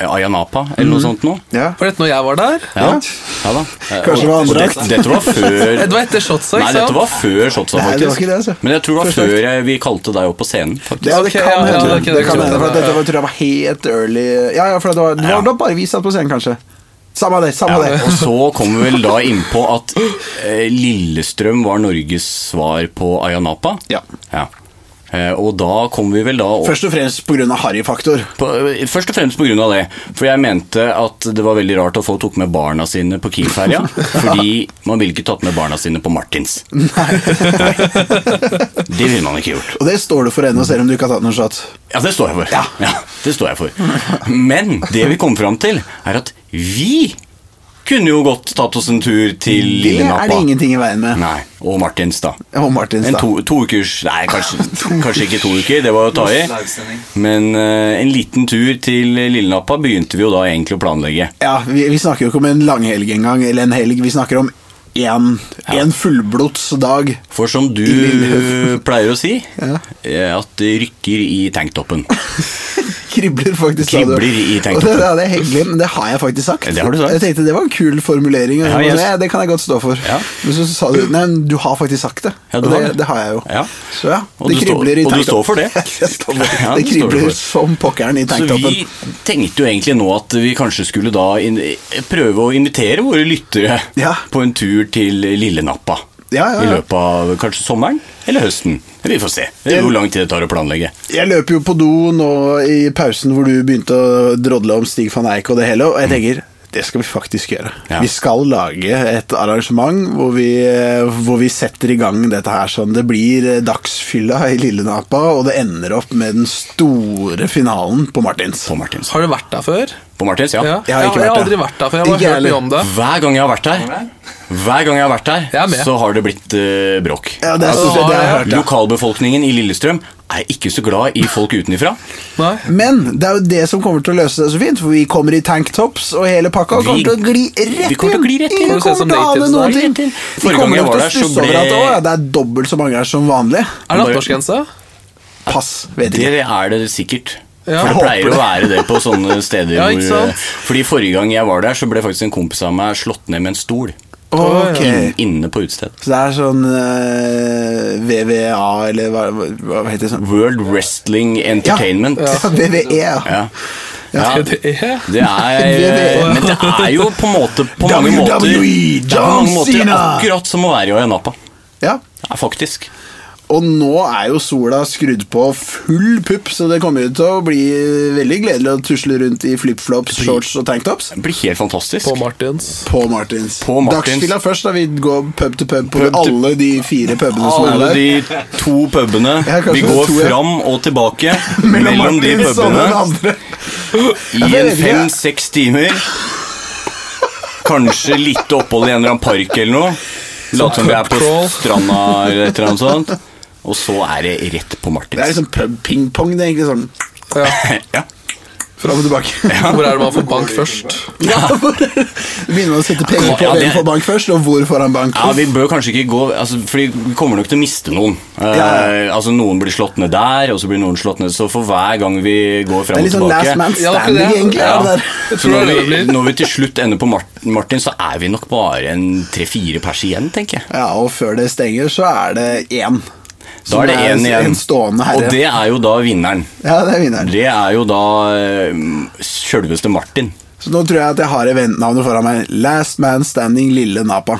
S2: eh, Ayanapa, eller noe sånt noe.
S1: ja.
S3: Var dette når jeg var der?
S2: Ja, ja da. Eh,
S1: Mhm. Kanskje det var
S2: og- og
S1: andrakt?
S2: det- Dette var før
S3: Det var etter Shotsa,
S2: Nei,
S3: ikke
S2: dette
S3: sant?
S2: var før Shotsa,
S1: Nei,
S2: faktisk.
S1: det var ikke det, altså.
S2: Men jeg tror det var
S1: Før
S2: før jeg, vi kalte deg opp på scenen. faktisk.
S1: Det, ja, det
S3: Ok,
S1: kan
S3: ja, ja,
S1: hende. det,
S3: det kan-
S1: kan
S3: det
S1: hende,
S3: kan-
S1: for at dette var, tror jeg var helt early Ja, ja, for det var, det var
S2: Ja.
S1: da bare vi satt på scenen, kanskje. Samme det. samme
S2: Ja, og
S1: det
S2: så kom vi vel da innpå at eh, Lillestrøm var Norges svar på Ayanapa.
S1: Ja.
S2: Eh, og da kom vi vel da opp
S1: Først og fremst pga. harryfaktor.
S2: på, eh, Først og fremst pga. det. For jeg mente at det var veldig rart at folk tok med barna sine på Kiel-ferja. fordi man ville ikke tatt med barna sine på Martins. Nei. Det ville man ikke gjort.
S1: Og det står det for ennå, selv om du ikke har tatt noen shot.
S2: Ja, det står jeg for. Ja. det står jeg for. Men det vi kom fram til, er at vi kunne jo godt tatt oss en tur til
S1: Det
S2: Lille Nappa.
S1: er det ingenting i veien med.
S2: Nei, og Martins da.
S1: Og Martins,
S2: En
S1: da.
S2: to, to ukers, nei kanskje, kanskje ikke to uker, det var å ta i. Men eh, en liten tur til Lillenappa begynte vi jo da egentlig å planlegge.
S1: Ja, vi, vi snakker jo ikke om en langhelg engang, eller en helg. Vi snakker om én en fullblods dag.
S2: For som du
S1: Lille-
S2: pleier å si,
S1: Ja.
S2: eh, at det rykker i tanktoppen.
S1: Kribler, faktisk. sa du.
S2: Kribler i
S1: Og
S2: tanktoppen.
S1: det, ja, det er hyggelig, men det har jeg faktisk sagt.
S2: Det har du sagt.
S1: Jeg tenkte det var en kul formulering, og
S2: Ja,
S1: jeg,
S2: jeg-
S1: sa, ja, det kan jeg godt stå for.
S2: Ja.
S1: Men så sa du nei, men du har faktisk sagt det.
S2: Ja, du
S1: og
S2: har
S1: det,
S2: det.
S1: det har jeg jo.
S2: Ja.
S1: Så ja,
S2: Og
S1: det
S2: du står-
S1: kribler i
S2: og du
S1: tanktoppen.
S2: står for det.
S1: jeg står for det.
S2: Ja,
S1: det
S2: du står for
S1: kribler
S2: det.
S1: som pokkeren i
S2: Så
S1: tanktoppen.
S2: vi tenkte jo egentlig nå at vi kanskje skulle da in prøve å invitere våre lyttere
S1: Ja.
S2: på en tur til Lillenappa.
S1: Ja, ja,
S2: I
S1: ja.
S2: løpet av kanskje sommeren eller høsten. Vi får se Det er hvor lang tid det tar å planlegge.
S1: Jeg løper jo på do nå i pausen hvor du begynte å drodle om Stig van Eijk og det hele, og jeg tenker det skal vi faktisk gjøre.
S2: Ja.
S1: Vi skal lage et arrangement hvor vi, hvor vi setter i gang dette her sånn. Det blir dagsfylla i Lillenapa, og det ender opp med den store finalen på Martins.
S2: På Martins.
S3: Har du vært der før?
S2: På Martins, ja.
S1: Jeg har ikke
S3: jeg
S1: vært
S3: har aldri
S1: der.
S3: vært der før. Jeg har
S1: Ikke
S3: bare hørt
S1: heller.
S3: mye om det.
S2: Hver gang jeg har vært der, hver gang jeg har vært
S3: Jeg er
S2: der
S3: med.
S2: så har det blitt eh, bråk.
S1: Ja, det er stort sett det jeg har hørt. Ja.
S2: Lokalbefolkningen i Lillestrøm er ikke så glad i folk utenifra.
S3: Nei.
S1: Men det er jo det som kommer til å løse det så fint, for vi kommer i tanktops og hele pakka og
S2: Vi-
S1: kommer til å gli rett
S2: vi kommer til å gli rett inn.
S1: Ingen
S3: Kommer til å se
S1: kommer til å
S3: som
S1: ane
S3: datidens
S1: noen
S3: dag.
S1: ting.
S2: Rett inn.
S1: Vi
S2: Forrige gang
S1: kommer
S2: jeg
S1: nok til
S2: var
S1: å
S2: der, så
S1: stusse over at
S2: ble-
S1: «Å, ja, det er dobbelt så mange her som vanlig.
S3: Er det attårsgrense?
S1: Pass, vet ikke.
S2: Det er det sikkert.
S3: Ja.
S2: For det
S1: Jeg
S2: pleier
S1: håper
S2: å være det på sånne steder.
S3: Ja, ikke
S2: hvor, eh,
S3: sant?
S2: fordi Forrige gang jeg var der, så ble faktisk en kompis av meg slått ned med en stol.
S1: Ok.
S2: inn- Inne på utestedet.
S1: Så det er sånn eh, VVA, eller hva, hva hva heter det sånn?
S2: World Wrestling Entertainment.
S1: Ja, VVE, ja.
S2: Ja. Ja.
S3: Det er
S2: Det er, men det er jo på, en måte, på mange
S1: WWE,
S2: måter Det er på
S1: E, John
S2: mange måter
S1: Cena.
S2: akkurat som å være i Ayanapa.
S1: ja.
S2: Ja, faktisk.
S1: Og nå er jo sola skrudd på full pupp, så det kommer jo til å bli veldig gledelig å tusle rundt i flipflops, shorts og tanktops.
S2: Det blir helt fantastisk.
S3: på Martins.
S1: På Martins.
S2: På Martins.
S1: Dagsfylla først, da vi går pub til pub på
S2: Pub til-
S1: alle de fire pubene som er
S2: Alle
S1: der.
S2: de to pubene.
S1: Ja, kanskje
S2: Vi går
S1: to, ja.
S2: fram og tilbake mellom de
S1: Martins og den
S2: pubene.
S1: andre.
S2: I
S1: Ja, for jeg
S2: en
S1: vet ikke.
S2: fem-seks timer. Kanskje litt opphold i en eller annen park eller noe. Late som vi er på
S3: pubcrawl.
S2: stranda eller et eller annet sånt. Og så er det rett
S1: Det
S2: på
S1: er
S2: Martins.
S1: liksom pub ping-pong, det er egentlig sånn.
S3: Ja.
S2: Ja.
S1: Fram og tilbake.
S3: Hvor er det man får bank først?
S1: Ja. Begynner man å sette penger på
S2: Ja, det-
S1: hvem får bank først, og hvor får han bank
S2: Ja,
S1: først?
S2: Vi bør kanskje ikke gå altså, Fordi vi kommer nok til å miste noen. Eh,
S1: Ja.
S2: Altså Noen blir slått ned der, og så blir noen slått ned Så for hver gang vi
S1: Det
S2: går fram
S1: er
S2: og
S1: litt sånn last man
S2: tilbake
S3: Ja, akkurat
S1: standing,
S3: det.
S1: egentlig. er det
S2: Ja.
S1: der.
S3: Jeg
S2: så
S3: tror det
S2: når,
S3: er det
S2: vi,
S3: det blir.
S2: når vi til slutt ender på Martin, Martin så er vi nok bare en tre-fire pers igjen, tenker jeg.
S1: Ja, og før det stenger, så er det én.
S2: Da
S1: Som
S2: er det
S1: er
S2: én igjen.
S1: en stående herre.
S2: Og det er jo da vinneren.
S1: Ja, det er vinneren.
S2: Det er jo da eh, sjølveste Martin.
S1: Så nå tror jeg at jeg har eventnavnet foran meg. Last Man Standing Lille Napa.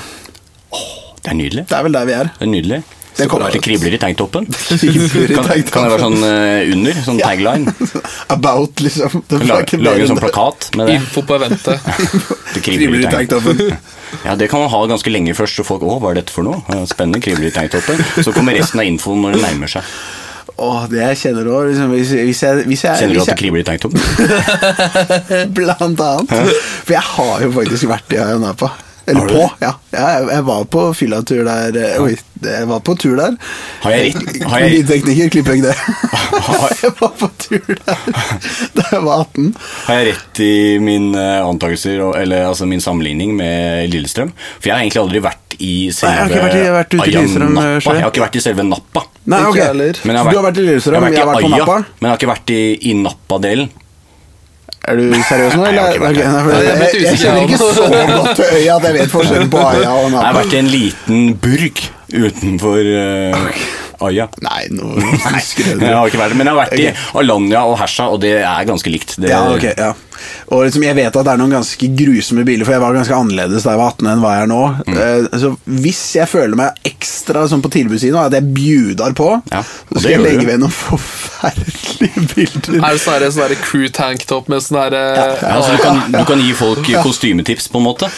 S2: Det er nydelig.
S1: Det er vel der vi er.
S2: Det er nydelig.
S1: Den
S2: Så
S1: kommer
S2: bra.
S1: ut.
S2: Det kribler i tanktoppen. Kan,
S1: Kribler i
S2: kan det være
S1: tanktoppen.
S2: sånn eh, under? Sånn tagline?
S1: About, liksom. Det var
S2: Lage,
S1: ikke
S2: lage en
S1: bedre
S2: sånn
S1: enn det.
S2: plakat med det.
S3: Info på eventet.
S2: Det
S1: Kribler i tanktoppen.
S2: Ja, Det kan man ha ganske lenge først, så folk 'Å, hva er dette for noe?' Ja, Spennende, kribler i tanktoppen. Så kommer resten av infoen når det nærmer seg.
S1: Åh, det jeg kjenner òg liksom, hvis, hvis jeg, hvis jeg,
S2: Kjenner du
S1: hvis
S2: at det
S1: jeg
S2: kribler i tanktoppen?
S1: Blant annet. For jeg har jo faktisk vært i Ayia Napa. Eller
S2: Har du
S1: på,
S2: det?
S1: ja. ja jeg, jeg var på fyllatur der eh, Oi, jeg var på tur der.
S2: Har jeg rett? Har jeg-
S1: Lydtekniker, klipp vekk det.
S2: Har-
S1: Jeg var på tur der da jeg var 18.
S2: Har jeg rett i min eh, antakelser, og- eller altså min sammenligning med Lillestrøm? For jeg har egentlig aldri vært i selve
S1: jeg har ikke vært i- jeg har vært ute i
S2: Ayia
S1: Lillestrøm,
S2: Nappa.
S1: eh, sjøl.
S2: Jeg har ikke vært i selve Nappa.
S1: Nei,
S3: Ikke
S1: ok.
S3: jeg heller.
S2: Men jeg
S1: Så du har vært i Lillestrøm, jeg har vært på
S2: Ayia,
S1: Nappa.
S2: Men jeg har ikke vært i, i Nappa-delen.
S1: Er du seriøs nå?
S2: Nei, jeg har ikke vært
S1: eller?
S2: der.
S1: Ok, nei, for
S3: Nei, jeg
S1: jeg,
S3: ble
S1: jeg,
S3: usikker,
S1: kjenner
S3: jeg
S1: ikke så godt til øya at jeg vet forskjellen på Aya og
S2: Jeg har
S1: Napa.
S2: vært i en liten burg utenfor eh, Ayia.
S1: Nei, nå Nei, skrøner du.
S2: Jeg har ikke vært det, men jeg har vært i Alanya og Hersa, og det er ganske likt. Det,
S1: Ja, ok, ja. Og liksom, jeg vet at det er noen ganske grusomme biler, for jeg var ganske annerledes da jeg var 18 enn hva jeg er nå.
S2: Mm.
S1: Eh, så hvis jeg føler meg ekstra sånn på tilbudssiden, og at jeg bjudar på,
S2: Ja, og
S1: så
S2: det
S1: skal jeg
S2: gjør du.
S1: legge ved noen forferdelige bilder.
S3: Er det sånn her- sånn her crew tanktop med sånn
S2: Ja,
S3: herre
S2: altså, du, kan, du kan gi folk kostymetips, på en måte.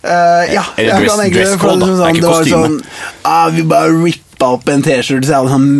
S1: Eh, ja,
S2: Eller
S1: jeg kan
S2: dress-
S1: egentlig
S2: dress
S1: føle
S2: code,
S1: det som sånn,
S2: da. Det er ikke
S1: det var
S2: kostyme.
S1: sånn ah, Vi bare rippa opp en T-skjorte, så jeg hadde sånn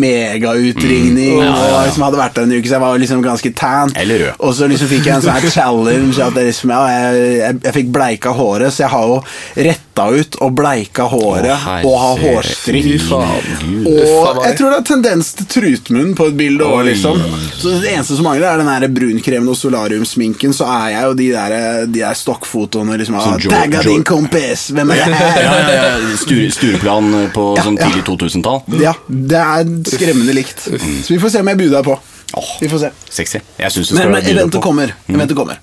S1: megautringning.
S2: Mm, ja, ja, ja.
S1: Og liksom hadde vært der en uke, så jeg var liksom ganske tan.
S2: Eller rød.
S1: Og så liksom fikk jeg en sånn her challenge. At jeg, liksom, ja, jeg, jeg, jeg fikk bleika håret, så jeg har jo retta ut og bleika håret
S2: Å,
S1: og har
S2: herre-
S1: hårstrikk.
S2: Fy faen.
S3: Uffa
S1: Og
S3: meg.
S1: jeg tror det er tendens til trutmunn på et bilde òg,
S2: Oi.
S1: liksom. Så det eneste som mangler, er den her brunkremen og solariumsminken. Så er jeg jo de der, de der stokkfotoene liksom ah,
S2: Sånn Jo-
S1: Tagga
S2: Jo-
S1: din kompis! Hvem er det her?
S2: Ja, ja, ja. Sture, Stureplan på
S1: Ja,
S2: sånn
S1: ja.
S2: tidlig 2000-tall.
S1: Ja, det er skremmende likt. Så vi får se om jeg buder på.
S2: Åh.
S1: Vi får se.
S2: Sexy. Jeg synes du skal
S1: Men,
S2: være
S1: men
S2: dyre
S1: eventet
S2: på. Mm.
S1: kommer. Eventet kommer.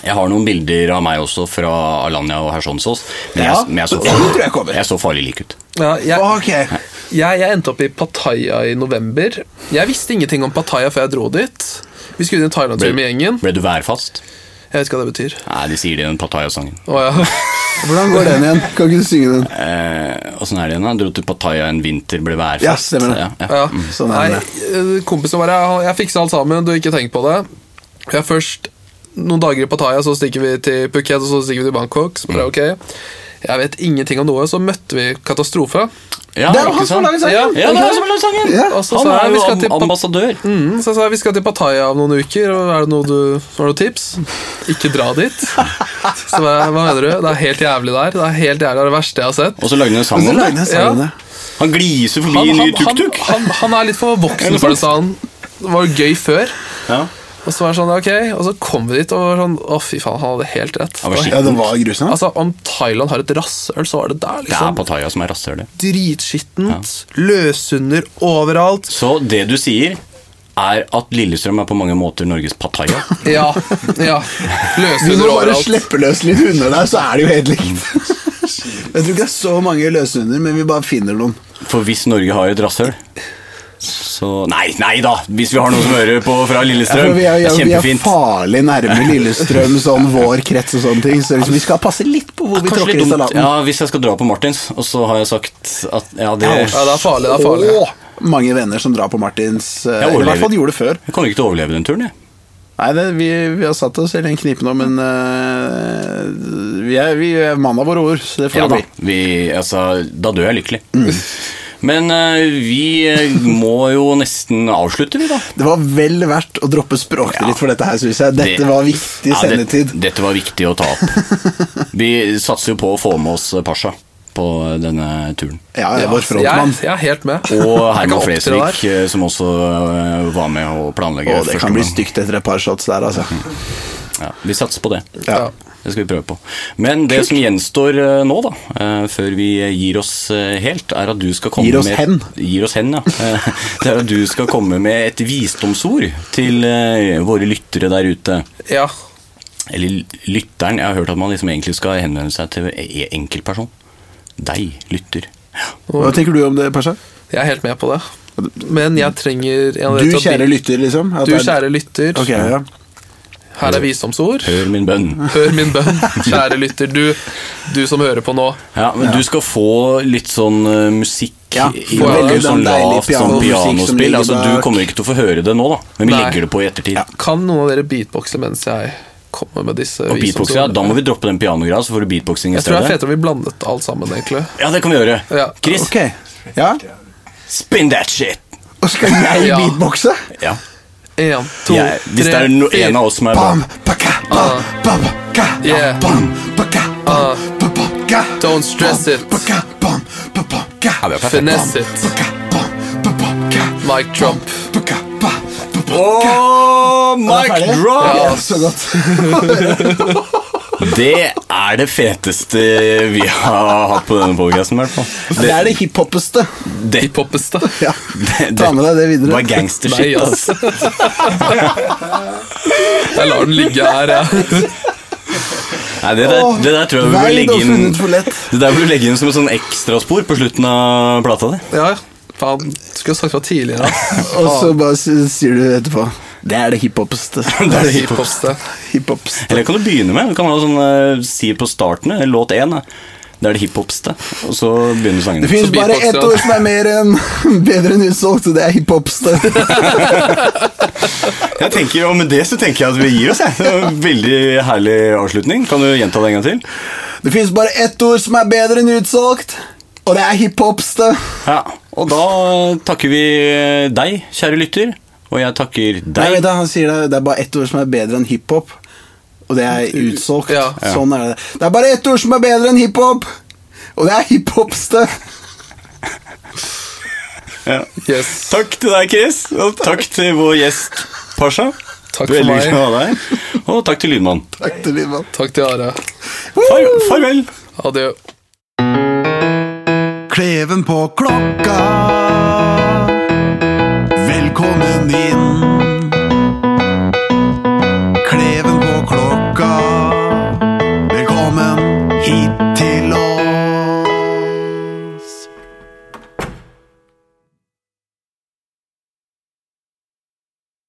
S2: Jeg har noen bilder av meg også fra Alanya og Hersonsås. Men,
S1: Ja,
S2: jeg, men jeg, så,
S1: det tror jeg kommer.
S2: jeg så farlig lik ut.
S3: Ja, jeg,
S1: Ok.
S3: jeg, jeg endte opp i Pattaya i november. Jeg visste ingenting om Pattaya før jeg dro dit. Vi skulle inn i Thailand-tur med gjengen.
S2: ble du værfast?
S3: Jeg vet ikke hva det betyr.
S2: Nei, de sier det i den Pattaya-sangen.
S3: Å, ja.
S1: Hvordan går den igjen? Kan ikke du synge den?
S2: Eh, og sånn er det igjen. da. Dro til Pattaya en vinter, ble værfast.
S1: Ja, stemmer det.
S2: Ja, ja.
S3: Ja.
S1: Sånn er
S3: Nei, eh, kompisen var jeg, jeg fiksa alt sammen, du ikke tenk på det. Jeg er først noen dager i Pattaya, så stikker vi til Phuket, og så stikker vi til Bangkok. Så
S2: Mm.
S3: bare, ok. Jeg vet ingenting om noe, så møtte vi Katastrofe.
S2: Ja,
S1: Det er jo
S2: ikke
S1: han som
S2: sant?
S1: har laget sangen!
S3: Ja.
S2: Ja, det er han som har laget sangen!
S1: Ja.
S3: Og så
S2: Han
S3: sa jeg,
S2: er
S3: vi
S2: jo
S3: skal
S2: am-
S3: til Pat-
S2: ambassadør.
S3: Mm, så jeg sa vi skal til Pattaya om noen uker, og er det noe du, har du noen tips? Ikke dra dit. Så hva, hva mener du? Det er helt jævlig der. Det er helt jævlig det er det verste jeg har sett.
S2: Og så lagde han en sang
S1: Og så
S2: om
S1: lagde
S2: det.
S1: jeg sangen
S3: Ja.
S1: der.
S2: Han gliser forbi
S3: Han,
S2: en ny
S3: han, han,
S2: tuk-tuk.
S3: han, han er litt for voksen for det, sa han. Det var jo gøy før.
S2: Ja.
S3: Og så var det sånn, ok, og så kom vi dit og var sånn, å fy faen, han hadde helt rett.
S2: Han var
S1: Ja, den var grusom.
S3: Altså, Om Thailand har et rasshøl, så var det der.
S2: Det er
S3: liksom.
S2: Pattaya som er rasshølet.
S3: Dritskittent, løshunder overalt.
S2: Så det du sier, er at Lillestrøm er på mange måter Norges Pattaya.
S3: Ja, ja.
S1: Vi må
S3: Løshunder
S1: bare
S3: overalt.
S1: slippe løs litt hunder der, så er det jo helt likt. Jeg tror ikke det er så mange løshunder, men vi bare finner noen.
S2: For hvis Norge har et rasshøl så Nei, nei da! Hvis vi har noe som hører på fra
S1: Ja, for
S2: Lillestrøm.
S1: vi, er,
S2: det
S1: ja,
S2: er
S1: vi er
S2: kjempefint.
S1: farlig nærme Lillestrøm, sånn vår krets og sånne ting, så liksom, vi skal passe litt på hvor vi
S2: Kanskje
S1: tråkker
S2: litt
S1: i
S2: dumt.
S1: salaten.
S2: Ja, Hvis jeg skal dra på Martins, og så har jeg sagt at ja, det
S3: Ja, det er farlig. det er farlig.
S1: Åh, mange venner som drar på Martins, eh, i hvert
S2: Jeg
S1: fall
S2: overlever.
S1: gjorde det før.
S2: Jeg kommer ikke til å overleve den turen, jeg.
S1: Nei, det, vi, vi har satt oss i en knipe nå, men eh, vi, er, vi er mann av våre ord, så det får
S2: Ja
S1: det
S2: da.
S1: bli.
S2: Vi, altså, da dør jeg lykkelig.
S1: Mm.
S2: Men eh, vi eh, må jo nesten avslutte, vi, da.
S1: Det var vel verdt å droppe språkdritt
S2: Ja.
S1: for dette her, synes jeg. Dette
S2: Det-
S1: var viktig
S2: Ja, det-
S1: sendetid.
S2: Dette var viktig å ta opp. Vi satser jo på å få med oss Pasha på på denne turen.
S1: Ja, ja,
S2: altså,
S1: vår
S3: jeg,
S1: frontmann.
S3: jeg er helt med.
S2: Og
S3: Jeg kan
S2: Herman
S3: opptre
S2: Flesvig,
S3: der.
S2: eh, som også eh, var med å planlegge.
S1: Å, det
S2: første
S1: kan bli
S2: gang.
S1: stygt etter et par shots der, altså.
S2: Ja, vi satser på det.
S1: Ja.
S3: Ja.
S2: Det skal vi prøve på. Men det som gjenstår eh, nå, da, eh, før vi gir oss eh, helt, er at du skal komme
S1: Gir oss
S2: med
S1: hen.
S2: Gir oss hen, ja. Eh, Det er at du skal komme med et visdomsord til eh, våre lyttere der ute.
S3: Ja.
S2: Eller lytteren. Jeg har hørt at man liksom egentlig skal henvende seg til e- enkeltperson. Deg, lytter.
S1: Hva tenker du om det, Pasha?
S3: Jeg er helt med på det. Men jeg trenger jeg
S1: Du,
S3: har rett til å
S1: kjære
S3: bli-
S1: lytter, liksom? At
S3: Du,
S1: det er-
S3: kjære lytter.
S1: Ok, ja.
S3: Her er visdomsord.
S2: Hør min bønn.
S3: Hør min bønn, kjære lytter. Du, du som hører på nå.
S2: Ja, men du skal få litt sånn eh, musikk
S1: Ja,
S2: i
S1: få
S2: bakgrunnen,
S1: veldig
S2: sånn
S1: sånn deilig
S2: lavt
S1: pianomusikk som
S2: sånn pianospill.
S1: ligger
S2: Altså, du
S1: bak.
S2: kommer ikke til å få høre det nå, da, men vi
S3: Nei.
S2: legger det på i ettertid.
S3: Kan noen av dere beatboxe mens jeg kommer med disse
S2: Og beatboxing, ja, Da må vi droppe den pianogreia, så får du beatboxing i
S3: Jeg tror det er
S2: stedet.
S3: fetere vi blandet alt sammen, egentlig.
S2: Ja, det kan vi gjøre.
S3: Ja.
S2: Chris,
S1: Ok. Ja?
S2: spin that shit!
S1: Og skal jeg
S3: Ja.
S1: beatboxe?
S2: Ja.
S3: En, to,
S2: Jeg, hvis det
S3: tre,
S2: er no,
S3: fire.
S2: en av oss som er
S1: Bam, baka, bam, bam, baka,
S3: Ah. Yeah. Ah.
S1: bam, baka, bam, bam, baka,
S3: Don't stress
S1: bam,
S3: it.
S1: baka, bam, bam, baka,
S2: Ja, det er perfekt.
S3: Ah, Finesse it.
S1: bam, baka, bam, bam, baka,
S3: Mic drop.
S1: baka, bam, bam, baka.
S2: Oh,
S1: Er det
S2: mic
S1: ferdig?
S2: drop!
S1: Ja, så godt.
S2: Det er det feteste vi har hatt på denne podcasten i hvert fall.
S1: Det er det hiphopeste.
S2: Det,
S3: Hiphopeste.
S1: Ja.
S2: det,
S1: Ta med deg det videre.
S2: var
S3: Nei, altså.
S2: gangstershit,
S3: ass.
S2: ass.
S3: Jeg lar den ligge her, jeg.
S2: Nei, det, der, det der tror jeg vi
S1: Åh,
S2: bør
S1: veid
S2: legge
S1: og
S2: inn
S1: funnet for lett.
S2: Det der bør du legge inn som et sånn ekstraspor på slutten av plata di.
S3: Ja, faen. Skulle ha sagt fra tidligere. ass.
S1: Og så bare s- sier du etterpå Det er det hiphopeste.
S2: Det er det
S3: Hiphopste.
S1: Hiphopste.
S2: Eller kan du begynne med? Du kan ha sånn eh, si på starten, eh, låt én. da. Det er det hiphopste. Og så begynner sangen.
S1: Det finnes
S3: Så
S1: bare ett
S3: beatboxer han.
S1: ord som er mer enn bedre enn utsolgt, og det er hiphopste.
S2: Jeg tenker, og Med det så tenker jeg at vi gir oss. Jeg. Det var en Veldig herlig avslutning. Kan du gjenta det en gang til?
S1: Det finnes bare ett ord som er bedre enn utsolgt, og det er hiphopste.
S2: Ja, Og da eh, takker vi eh, deg, kjære lytter. Og jeg takker
S1: Nei,
S2: deg.
S1: vet du, han sier det, det er bare ett ord som er bedre enn hiphop, og det er utsolgt.
S3: Ja.
S1: Sånn er det. Det er bare ett ord som er bedre enn hiphop, og det er hiphopste.
S2: Ja.
S3: Yes.
S2: Takk til deg, Chris. Og takk til vår gjest, Pasha.
S3: Takk for
S2: Veldig
S3: meg.
S2: hyggelig å ha deg her. Og takk til lydmannen.
S1: Takk til din mann.
S3: Takk til Are.
S2: Far, farvel.
S3: Adjø.
S1: Kleven på klokka. Velkommen inn.